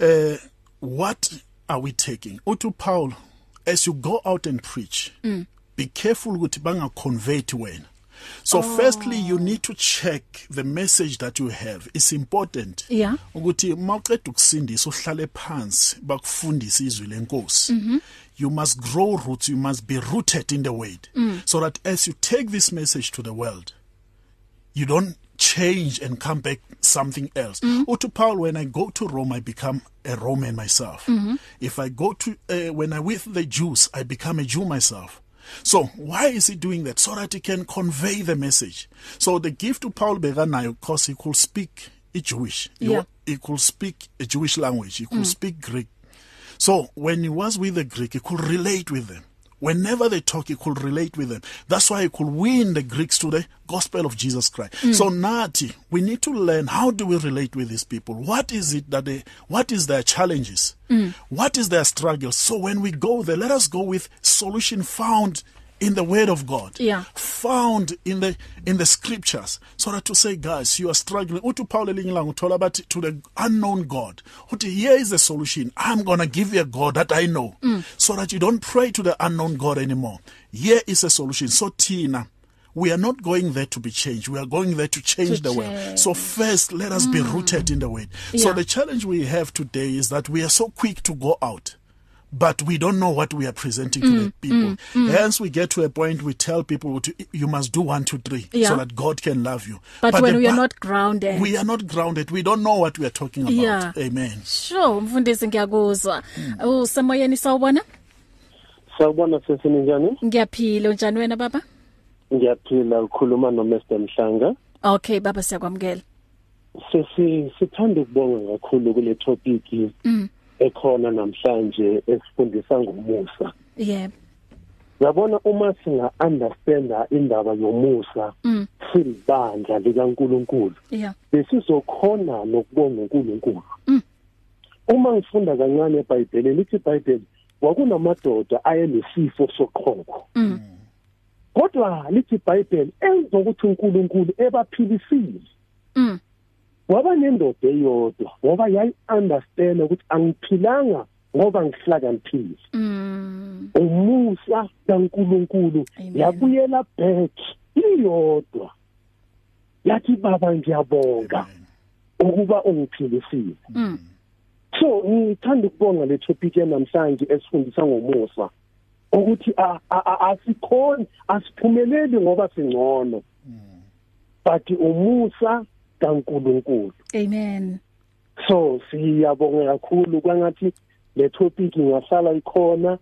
[SPEAKER 3] Eh what are we taking? Uthi Paul as you go out and preach mm. be careful ukuthi banga convert wena. So oh. firstly you need to check the message that you have. It's important.
[SPEAKER 2] Yeah.
[SPEAKER 3] ukuthi mawuqeda ukusindisa uhlale phansi bakufundise izwi lenkosi you must grow roots you must be rooted in the word mm. so that as you take this message to the world you don't change and come back something else mm. uthi paul when i go to rome i become a roman myself mm -hmm. if i go to uh, when i with the jews i become a jew myself So why is he doing that? So that he can convey the message. So the gift to Paul Beganayo, because he could speak Jewish. He
[SPEAKER 2] Yeah.
[SPEAKER 3] wa- he could speak a Jewish language, he could mm. speak Greek. So when he was with the Greek, he could relate with them. Whenever they talk, he could relate with them. That's why he could win the Greeks to the gospel of Jesus Christ. Mm. So Nati, we need to learn how do we relate with these people? What is it that they what is their challenges? Mm. What is their struggle? So when we go there, let us go with solution found in the word of God
[SPEAKER 2] Yeah.
[SPEAKER 3] found in the in the scriptures so that to say guys you are struggling uthi Paul elingilang uthola bathi to the unknown god uthi here is the solution i'm going to give you a god that i know mm. so that you don't pray to the unknown god anymore here is a solution so Tina we are not going there to be changed we are going there to change
[SPEAKER 2] To
[SPEAKER 3] the world so first let us mm. be rooted in the word so
[SPEAKER 2] Yeah.
[SPEAKER 3] the challenge we have today is that we are so quick to go out but we don't know what we are presenting to
[SPEAKER 2] Mm,
[SPEAKER 3] the people. Hence, we get to a point we tell people to, you must do one, two, three,
[SPEAKER 2] Yeah.
[SPEAKER 3] so that God can love you.
[SPEAKER 2] But when
[SPEAKER 3] the
[SPEAKER 2] we are
[SPEAKER 3] Bi-
[SPEAKER 2] not grounded.
[SPEAKER 3] we are not grounded. We don't know what we are talking about.
[SPEAKER 2] Yeah.
[SPEAKER 3] Amen.
[SPEAKER 2] Sho, mfundisi ngiyakuzwa. Usemoyeni sawubona?
[SPEAKER 9] Sawubona sisi njani?
[SPEAKER 2] Ngiyaphila unjani wena baba?
[SPEAKER 9] Ngiyaphila ukhuluma noMr Mhlanga.
[SPEAKER 2] Okay baba siyakwamukela.
[SPEAKER 9] Sisi sithanda ukubonga kakhulu kule topic ekhona namhlanje esifundisa ngomusa.
[SPEAKER 2] Yeah.
[SPEAKER 9] Uyabona uma singa understand indaba yomusa silibandla likaNkuluNkulu
[SPEAKER 2] Yeah.
[SPEAKER 9] besizokhona nokubonga uNkulunkulu. Uma ngifunda kancane eBhayibhelini lithi iBhayibheli wakunamadoda ayenesifo soqhoko. Kodwa lithi iBhayibheli enza ukuthi uNkulunkulu ebaphilisile.
[SPEAKER 2] Mm.
[SPEAKER 9] Waba nendoda eyodwa ngoba yayi understand ukuthi angiphilanga ngoba ngihlakaniphile.
[SPEAKER 2] Mm.
[SPEAKER 9] Umusa kaNkulunkulu
[SPEAKER 2] Amen.
[SPEAKER 9] yabuyela back iyodwa. Yathi baba ngiyabonga.
[SPEAKER 3] Amen.
[SPEAKER 9] ukuba ungiphilisile
[SPEAKER 2] Mm.
[SPEAKER 9] so ngithanda ukubonga le topic yanamhlanje esifundisa ngomusa ukuthi a- a- a- asikhoni asiphumeleli ngoba singcono
[SPEAKER 2] Mm.
[SPEAKER 9] but umusa kaNkuluNkulu
[SPEAKER 2] Amen.
[SPEAKER 9] so siyabonga kakhulu kwangathi le topic ingahlala ikhona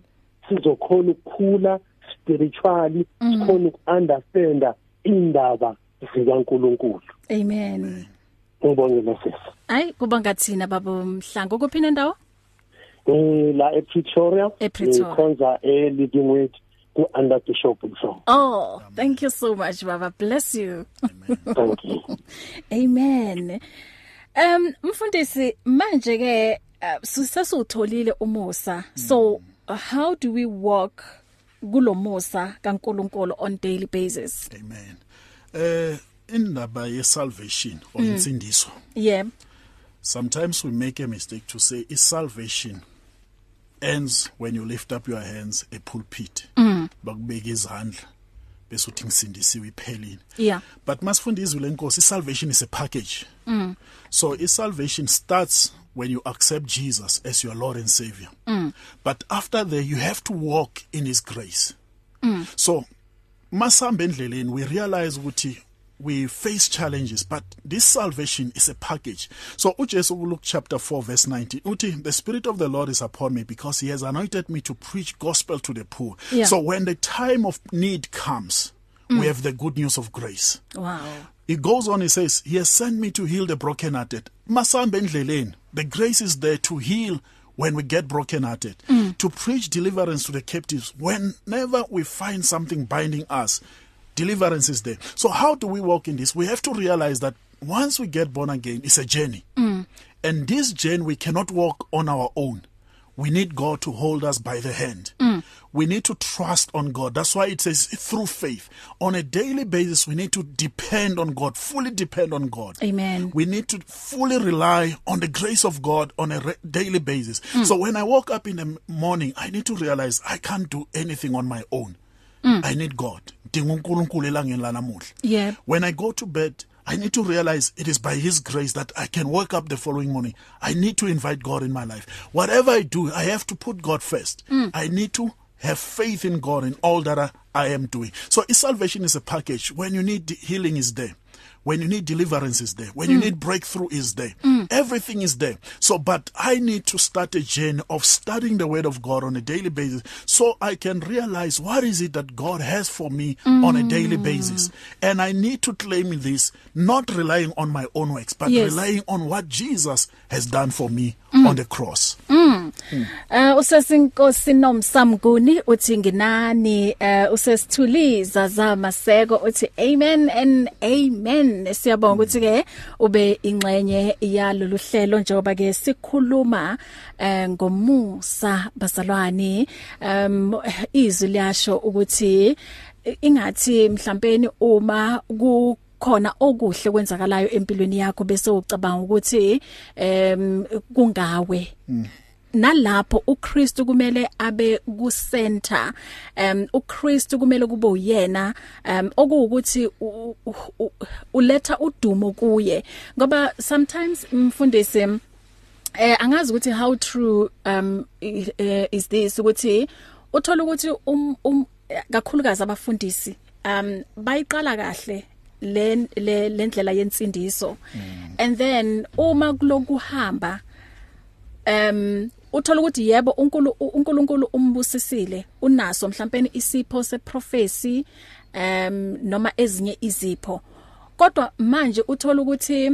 [SPEAKER 9] sizokhona ukukhula spiritually sikhona ukunderstanda indaba zikaNkuluNkulu
[SPEAKER 2] Amen.
[SPEAKER 9] ngibongela sisi
[SPEAKER 2] Ay kuba ngathina baba mhlanga kuphi nendawo?
[SPEAKER 9] Eh, la ePretoria
[SPEAKER 2] EPretoria.
[SPEAKER 9] ikhonza eLidingweth ku under bishop Mhlongo
[SPEAKER 2] Oh, thank you so much baba. Bless you.
[SPEAKER 9] thank you
[SPEAKER 2] Amen. Um mfundisi manje ke uh, sisasutholile umusa. So uh, how do we walk kulomusa kaNkuluNkulu on daily basis?
[SPEAKER 3] Amen. Eh indaba ye salvation or
[SPEAKER 2] Mm.
[SPEAKER 3] insindiso.
[SPEAKER 2] Yeah.
[SPEAKER 3] Sometimes we make a mistake to say is salvation ends when you lift up your hands a pulpit.
[SPEAKER 2] Mm.
[SPEAKER 3] Bakubeka izandla bese uthi ngisindisiwe iphelile.
[SPEAKER 2] Yeah.
[SPEAKER 3] But masifunda izwi lenkosi salvation is a package. So is salvation starts when you accept Jesus as your Lord and Savior. But after that you have to walk in his grace. So masihamba endleleni we realize ukuthi we face challenges but this salvation is a package so ujesu kuluke chapter 4 verse 19 uthi the spirit of the lord is upon me because he has anointed me to preach gospel to the poor
[SPEAKER 2] Yeah.
[SPEAKER 3] so when the time of need comes we have the good news of grace
[SPEAKER 2] Wow.
[SPEAKER 3] he goes on he says he has sent me to heal the brokenhearted masihamba endleleni the grace is there to heal when we get brokenhearted to preach deliverance to the captives whenever we find something binding us deliverance is there so how do we walk in this we have to realize that once we get born again it's a journey and this journey we cannot walk on our own we need god to hold us by the hand we need to trust on god that's why it says through faith on a daily basis we need to depend on god fully depend on god
[SPEAKER 2] Amen.
[SPEAKER 3] we need to fully rely on the grace of god on a re- daily basis so when i wake up in the m- morning i need to realize i can't do anything on my own i need god Ngidinga uNkulunkulu elangeni lanamuhla
[SPEAKER 2] Yeah.
[SPEAKER 3] when I go to bed, I need to realize it is by His grace that I can wake up the following morning. I need to invite God in my life. Whatever I do, I have to put God first. I need to have faith in God in all that I, I am doing. So, his salvation is a package. When you need healing, is there. When you need deliverance, is there. When you need breakthrough, is there. Everything is there. So, but I need to start a journey of studying the Word of God on a daily basis so I can realize what is it that God has for me on a daily basis. And I need to claim this, not relying on my own works, but
[SPEAKER 2] Yes.
[SPEAKER 3] relying on what Jesus has done for me on the cross.
[SPEAKER 2] Uh usesinkosi nomsamguni uthi nginani uh usesithuliza zamaseko uthi amen and amen siyabonga ukuthi ke ube ingxenye yalolu hlelo njengoba ke sikhuluma eh ngomusa bazalwane um izwi liyasho ukuthi ingathi mhlawumbe uma ku khona okuhle kwenzakalayo empilweni yakho bese ucabanga ukuthi em kungawe nalapho uKristu kumele abe ku center um uKristu kumele kube uyena um okuwukuthi u- u- u- uletha udumo kuye ngoba sometimes mfundisi eh angazi ukuthi how true um i- eh, is this ukuthi uthola ukuthi um um, eh, kakhulukazi abafundisi um bayiqala kahle le le- lendlela yensindiso and then uma kulokuhamba um uthola ukuthi yebo uNkulu- uNkulunkulu umbusisile unaso mhlawumbe isipho seprophecy um noma ezinye izipho kodwa manje uthola ukuthi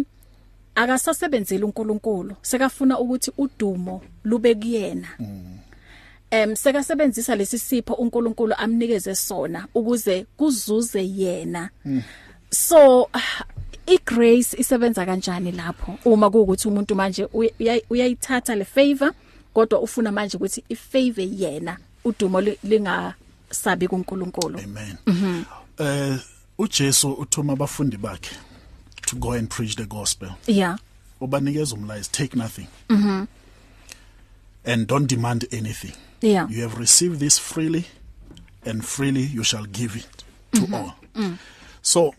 [SPEAKER 2] akasasebenzeli uNkulunkulu sekafuna ukuthi udumo lube kuyena em sekasebenzisa lesi sipho uNkulunkulu amnikeze sona ukuze kuzuze yena so ah, igrace isebenza kanjani lapho uma kuukuthi umuntu manje uya- uyayi- uyayithatha le favor kodwa ufuna manje ukuthi ifavor yena udumo li- lingasabi kuNkulunkulu
[SPEAKER 3] Amen. Eh uJesu uthuma abafundi bakhe to go and preach the gospel.
[SPEAKER 2] yeah
[SPEAKER 3] Ubanikeza umlayezo take nothing. Mhm. And don't demand anything.
[SPEAKER 2] yeah
[SPEAKER 3] You have received this freely and freely you shall give it to all. So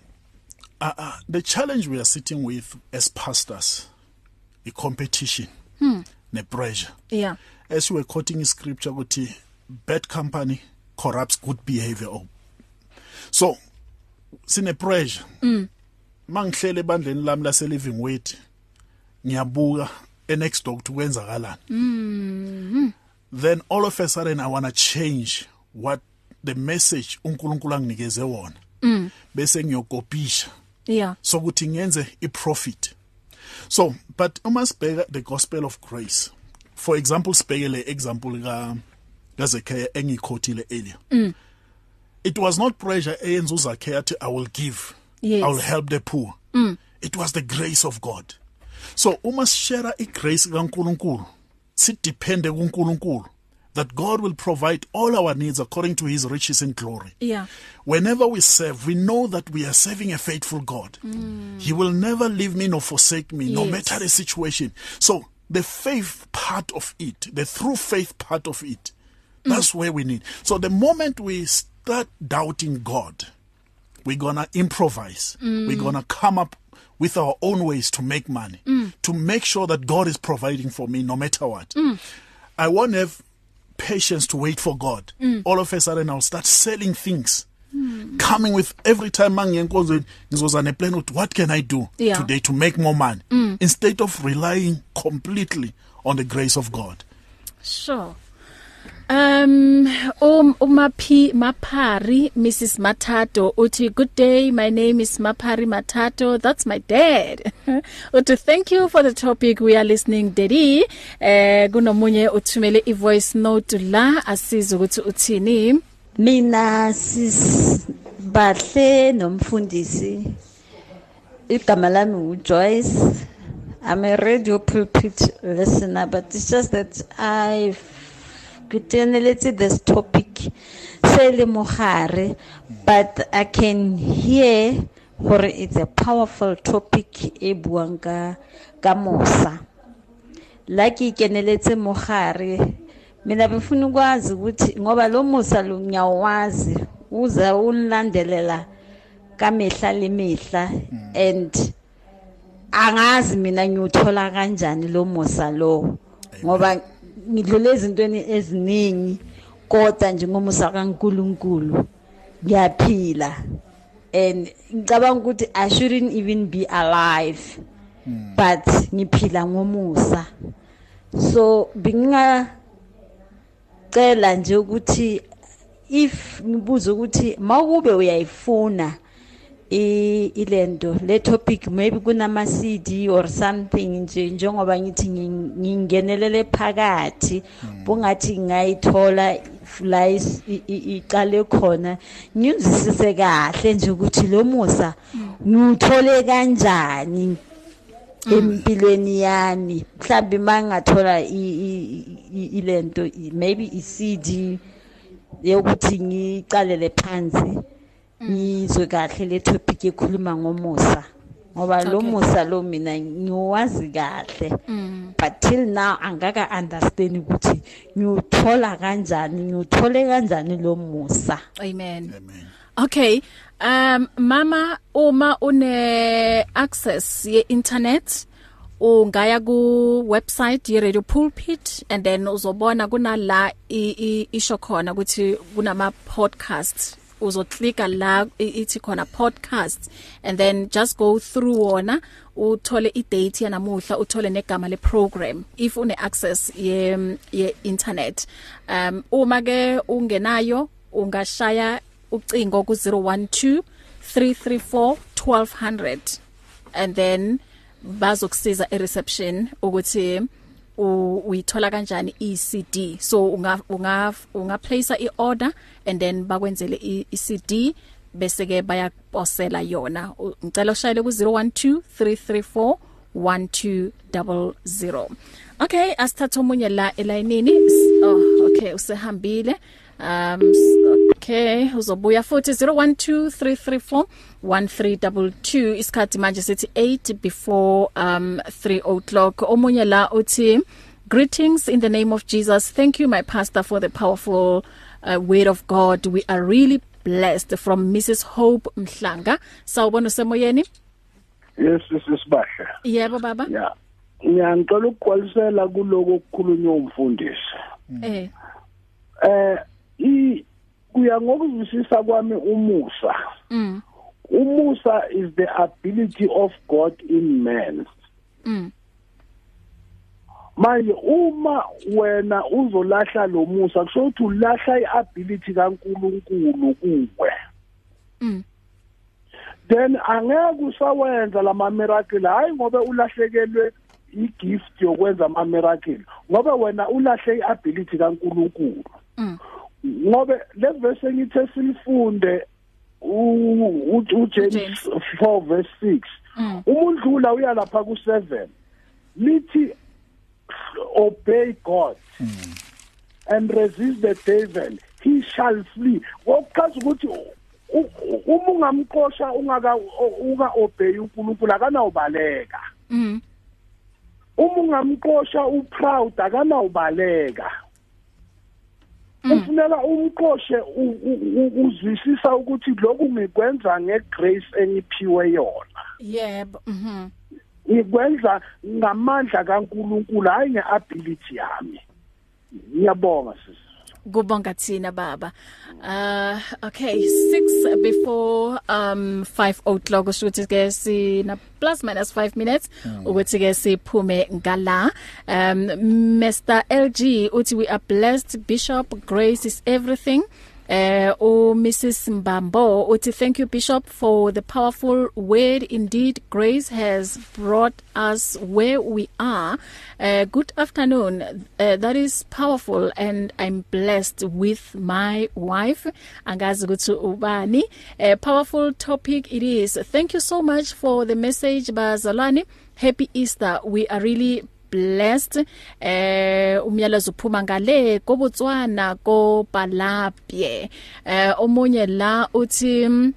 [SPEAKER 3] uh, uh, the challenge we are sitting with as pastors the competition ne pressure
[SPEAKER 2] yeah
[SPEAKER 3] as we were quoting scripture ukuthi bad company corrupts good behavior oh. so sine pressure mangihlele ebandleni lami lase living weight ngiyabuka enext door ukuthi kwenzakalani then all of a sudden i want to change what the message uNkulunkulu anginikeze wona bese ngiyokopisha
[SPEAKER 2] yeah
[SPEAKER 3] sokuthi ngenze iprofit so but uma sibheka the gospel of grace for example sibheke le example ka kaZekhaya engikhotile earlier mm. it was not pressure eyenza uZakhaya athi i will give
[SPEAKER 2] Yes.
[SPEAKER 3] i will help the poor mm. it was the grace of god so uma sishare igrace kaNkuluNkulu sidepende kuNkuluNkulu that god will provide all our needs according to his riches in glory
[SPEAKER 2] yeah
[SPEAKER 3] Whenever we serve, we know that we are serving a faithful God. He will never leave me nor forsake me, no
[SPEAKER 2] Yes.
[SPEAKER 3] matter the situation. So, the faith part of it, the through faith part of it, that's where we need. So, the moment we start doubting God, we're going to improvise. We're going to come up with our own ways to make money, to make sure that God is providing for me no matter what. I won't have patience to wait for God. All of a sudden, I'll start selling things. Mm. Coming with every time mangiyenkonzweni ngizoza neplan ukuthi what can I do
[SPEAKER 2] Yeah.
[SPEAKER 3] today to make more money instead of relying completely on the grace of God.
[SPEAKER 2] Sure. Um um uMaphi Maphari Mrs Mathato uthi good day my name is Maphari Mathato that's my dad. uthi thank you for the topic we are listening daddy. Eh kunomunye uthumele i voice note la asiza ukuthi uthini.
[SPEAKER 10] mina sisibahle nomfundisi igama lami uJoyce I'm a radio pulpit listener but it's just that I kuteneletse this topic sele mogare but I can hear gore it's a powerful topic e buang ka ka mosa la ke ikeneletse mogare mina befuna ukwazi ukuthi ngoba lo musa lo ngiyawazi uza ulandelela kamehla lemihla and angazi mina ngiyuthola kanjani lo musa lo ngoba ngidlule ezintweni eziningi kodwa nje ngomusa kaNkuluNkulu ngiyaphila and ngicabanga ukuthi I shouldn't even be alive but ngiphila ngomusa so bengingacela nje ukuthi if ngibuza ukuthi mawube uyayifuna i- ilento le topic maybe kunama CD or something nje njengoba ngithi ngi- ngingenelele phakathi bungathi ngayithola la is- i- i- iqale khona ngizisise kahle nje ukuthi lo musa ngiuthole kanjani empilweni yami mhlawumbe mangathola ilento maybe iCD yokuthi ngicalele phansi ngizwe kahle le topic ekhuluma ngomusa ngoba lo
[SPEAKER 2] Okay.
[SPEAKER 10] musa lo mina ngiwazi kahle but till now angaka understand ukuthi ngiyuthola kanjani ngiyuthole kanjani lo musa
[SPEAKER 2] Amen.
[SPEAKER 3] Amen.
[SPEAKER 2] Okay. Um mama uma une access ye internet ungaya ku website ye Radio Pulpit and then uzobona kunala i- i- isho khona ukuthi kunama podcasts uzoclicka la i- ithi khona podcasts and then just go through wona uthole idate yanamuhla uthole negama le program if une access ye ye internet um uma ke ungenayo ungashaya ucingo ku 012 334 1200 and then bazokusiza ereception ukuthi u- uyithola kanjani iCD so unga unga unga place iorder and then bakwenzele i- iCD bese ke bayaposela yona U- ngicela ushayele ku 012334 1200 okay asithatha omunye la elayinini S- oh okay usehambile um s- okay uzobuya futhi 0123341322 isikhathi manje sithi 8 before um 3 o'clock omunye la uthi greetings in the name of Jesus thank you my pastor for the powerful uh, word of God we are really blessed from Mrs Hope Mhlanga sawubona usemoyeni
[SPEAKER 8] yes sisibahle
[SPEAKER 2] yebo baba
[SPEAKER 8] ya ngiyangicela ukukwalisela kuloko okukhulunywa umfundisi
[SPEAKER 2] eh
[SPEAKER 8] eh i kuya ngokuzwisisa kwami umusa
[SPEAKER 2] mm
[SPEAKER 8] umusa is the ability of god in man
[SPEAKER 2] mm
[SPEAKER 8] manje uma wena uzolahla lo musa kusho ukuthi ulahla iability kaNkuluNkulu kuwe
[SPEAKER 2] Mm.
[SPEAKER 8] then angeke usawenza lama miracle hayi ngoba ulahlekelwe igift yokwenza ama miracle ngoba wena ulahle iability kaNkuluNkulu
[SPEAKER 2] mm
[SPEAKER 8] ngoba leverse engithe silifunde u- u- uJames
[SPEAKER 2] James.
[SPEAKER 8] 4 verse 6
[SPEAKER 2] Mm.
[SPEAKER 8] umundlula uya lapha ku7 lithi obey God and resist the devil he shall flee wokuchaza ukuthi u- u- uma ungamqosha ungaka uka obey uNkulunkulu akanawubaleka
[SPEAKER 2] mm
[SPEAKER 8] uma ungamqosha uproud akanawubaleka ufuneka umqoshe u- u- u- uzwisisa ukuthi lokhu ngikwenza ngegrace engiphiwe yona
[SPEAKER 2] yebo mhm
[SPEAKER 8] ngikwenza ngamandla kaNkuluNkulu hayi ngeability yami ngiyabonga sisi
[SPEAKER 2] kubonga thina baba uh okay 6 before um 5 o'clock ukuthi ke sina plus minus 5 minutes ukuthi ke siphume ngala um Mr LG uthi we are blessed bishop grace is everything Uh oh Mrs Mbambo uthi thank you bishop for the powerful word indeed grace has brought us where we are uh, good afternoon uh, that is powerful and I'm blessed with my wife angazi ukuthi ubani a powerful topic it is thank you so much for the message bazalwane happy easter we are really blessed eh umyalezo uphuma ngale ko Botswana ko Palapie eh omunye la uthi mm,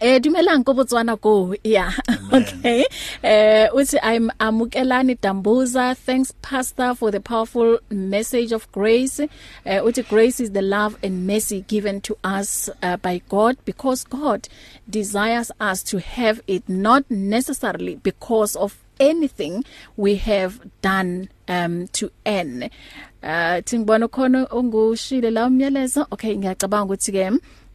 [SPEAKER 2] Eh dumelang ko Botswana go. Yeah. okay. Eh uthi I'm amukelani Dambuza. Thanks pastor for the powerful message of grace. Eh uthi grace is the love and mercy given to us uh, by God because God desires us to have it not necessarily because of anything we have done um to n uh thingibona khona ongushile la umyalezo okay ngiyacabanga ukuthi ke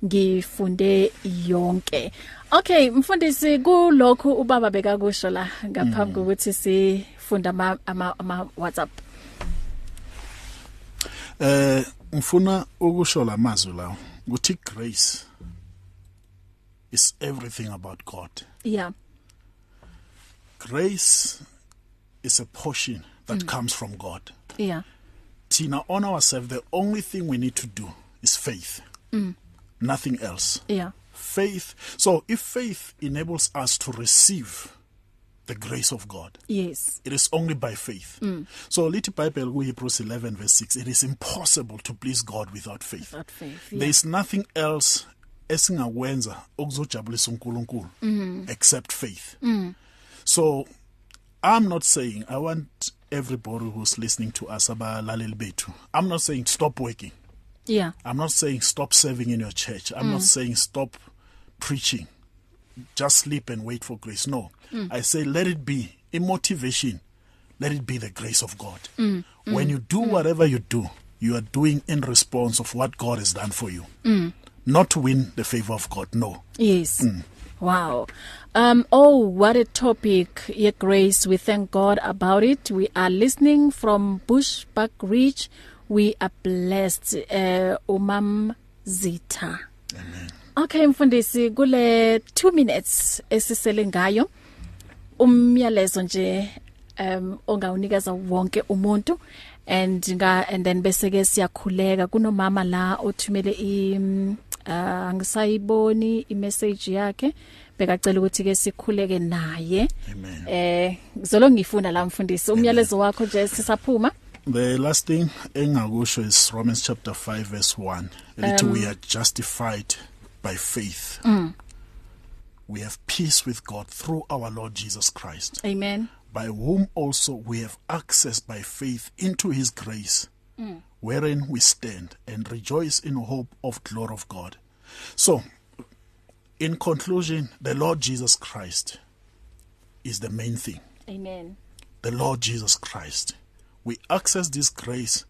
[SPEAKER 2] ngifunde yonke okay mfundisi kulokhu ubaba beka kusho la ngaphambi kokuthi sifunda ama, ama, ama WhatsApp
[SPEAKER 3] eh ngifuna ukusho lamazwi lawo ukuthi grace is everything about God
[SPEAKER 2] yeah
[SPEAKER 3] grace is a portion that mm. comes from God
[SPEAKER 2] yeah
[SPEAKER 3] Tina on ourselves the only thing we need to do is faith
[SPEAKER 2] mm,
[SPEAKER 3] nothing else
[SPEAKER 2] yeah
[SPEAKER 3] faith so if faith enables us to receive the grace of God
[SPEAKER 2] yes
[SPEAKER 3] it is only by faith mm. so little bible we Hebrews 11 verse 6 it is impossible to please God without faith
[SPEAKER 2] that faith
[SPEAKER 3] there is nothing else esingakwenza okuzojabulisa uNkulunkulu except faith so i'm not saying i want everybody who's listening to us abalaleli bethu i'm not saying stop working
[SPEAKER 2] yeah
[SPEAKER 3] i'm not saying stop serving in your church i'm not saying stop preaching Mm. just sleep and wait for grace no i say let it be a motivation let it be the grace of God. Mm. When you do whatever you do, you are doing in response of what God has done for you. Mm. Not to win the favor of God, no.
[SPEAKER 2] Yes. Mm. Wow. Um oh what a topic. Your grace, we thank God about it. We are listening from Bushback Ridge. We are blessed. Uh umam Zita. Amen. Okay mfundisi kule 2 minutes esisele ngayo umyalezo nje um ongawunikeza wonke umuntu and nga and then bese ke siyakhuleka kunomama la othumele i mm, uh, angisayiboni i-message yakhe bekacela ukuthi ke sikhuleke naye
[SPEAKER 3] Amen.
[SPEAKER 2] eh ngizolo ngifuna la mfundisi umyalezo wakho nje sisaphuma
[SPEAKER 3] The last thing engakusho is Romans chapter 5 verse 1. That um, we are justified by faith. Mm. We have peace with God through our Lord Jesus Christ,
[SPEAKER 2] amen
[SPEAKER 3] by whom also we have access by faith into his grace, mm. wherein we stand and rejoice in hope of glory of God. So, in conclusion, the Lord Jesus Christ is the main thing.
[SPEAKER 2] amen
[SPEAKER 3] the Lord Jesus Christ. We access this grace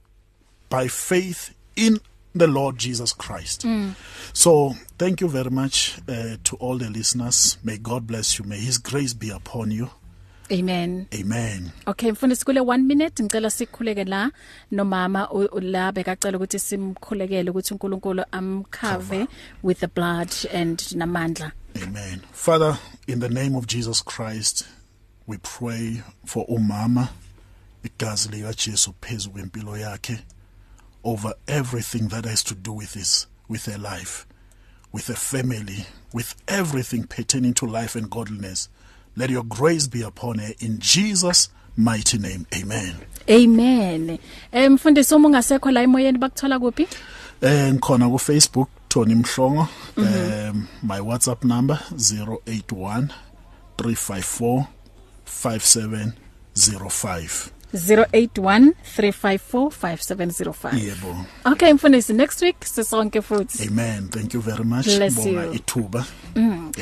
[SPEAKER 3] by faith in the Lord Jesus Christ. Mm. So, thank you very much uh, to all the listeners. May God bless you. May His grace be upon you.
[SPEAKER 2] amen
[SPEAKER 3] Amen.
[SPEAKER 2] Okay mfundisi kule 1 minute ngicela sikhuleke la nomama u- u- la bekacela ukuthi simkhulekele ukuthi uNkulunkulu amkhave with the blood and namandla
[SPEAKER 3] Amen. Father, in the name of Jesus Christ, we pray for umama igazi lika Jesu phezu kwempilo yakhe over everything that has to do with his with her life, with her family, with everything pertaining to life and godliness. Let your grace be upon her in Jesus mighty name. Amen.
[SPEAKER 2] amen eh mfundisi uma ungasekho la emoyeni bakuthola kuphi
[SPEAKER 3] Eh ngikhona ku Facebook Tony Mhlongo. Um my WhatsApp number 081 354 5705.
[SPEAKER 2] 0813545705
[SPEAKER 3] Yebo.
[SPEAKER 2] Okay mfundisi next week sisonke futhi
[SPEAKER 3] Amen. Thank you very much.
[SPEAKER 2] Bless
[SPEAKER 3] Ngibonga
[SPEAKER 2] you. Mm.
[SPEAKER 3] ithuba. Amen.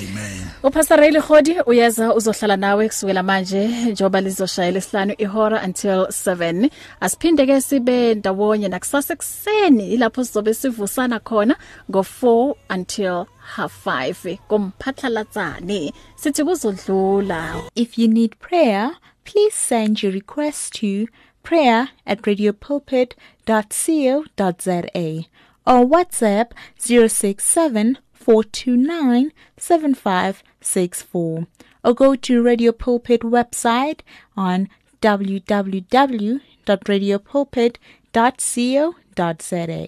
[SPEAKER 2] uPastor Riley Khodi uyaza uzohlala nawe kusukela manje njoba lizoshayela isihlanu ihora until 7 asiphinde ke sibe ndawonye nakusasa ekseni ilapho sizobe sivusana khona ngo4 until half 5 kumphatlalatsane sithi kuzodlula
[SPEAKER 11] If you need prayer, please send your request to prayer at radiopulpit.co.za or WhatsApp 067 429 7564 or go to Radio Pulpit website on www.radiopulpit.co.za.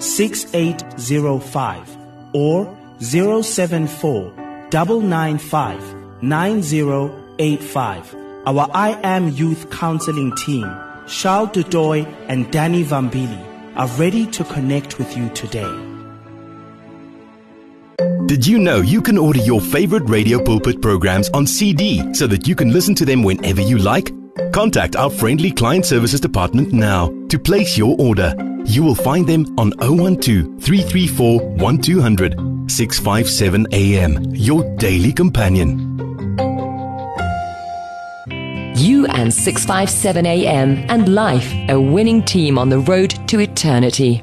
[SPEAKER 12] 6805 or 074 995 9085. Our I Am Youth Counseling team, Charles Dudoy and Danny Vambili, are ready to connect with you today.
[SPEAKER 13] Did you know you can order your favorite Radio Pulpit programs on CD so that you can listen to them whenever you like? Contact our friendly client services department now to place your order. You will find them on 012 334 1200 657 AM, your daily companion.
[SPEAKER 7] You and 657 AM and life, a winning team on the road to eternity.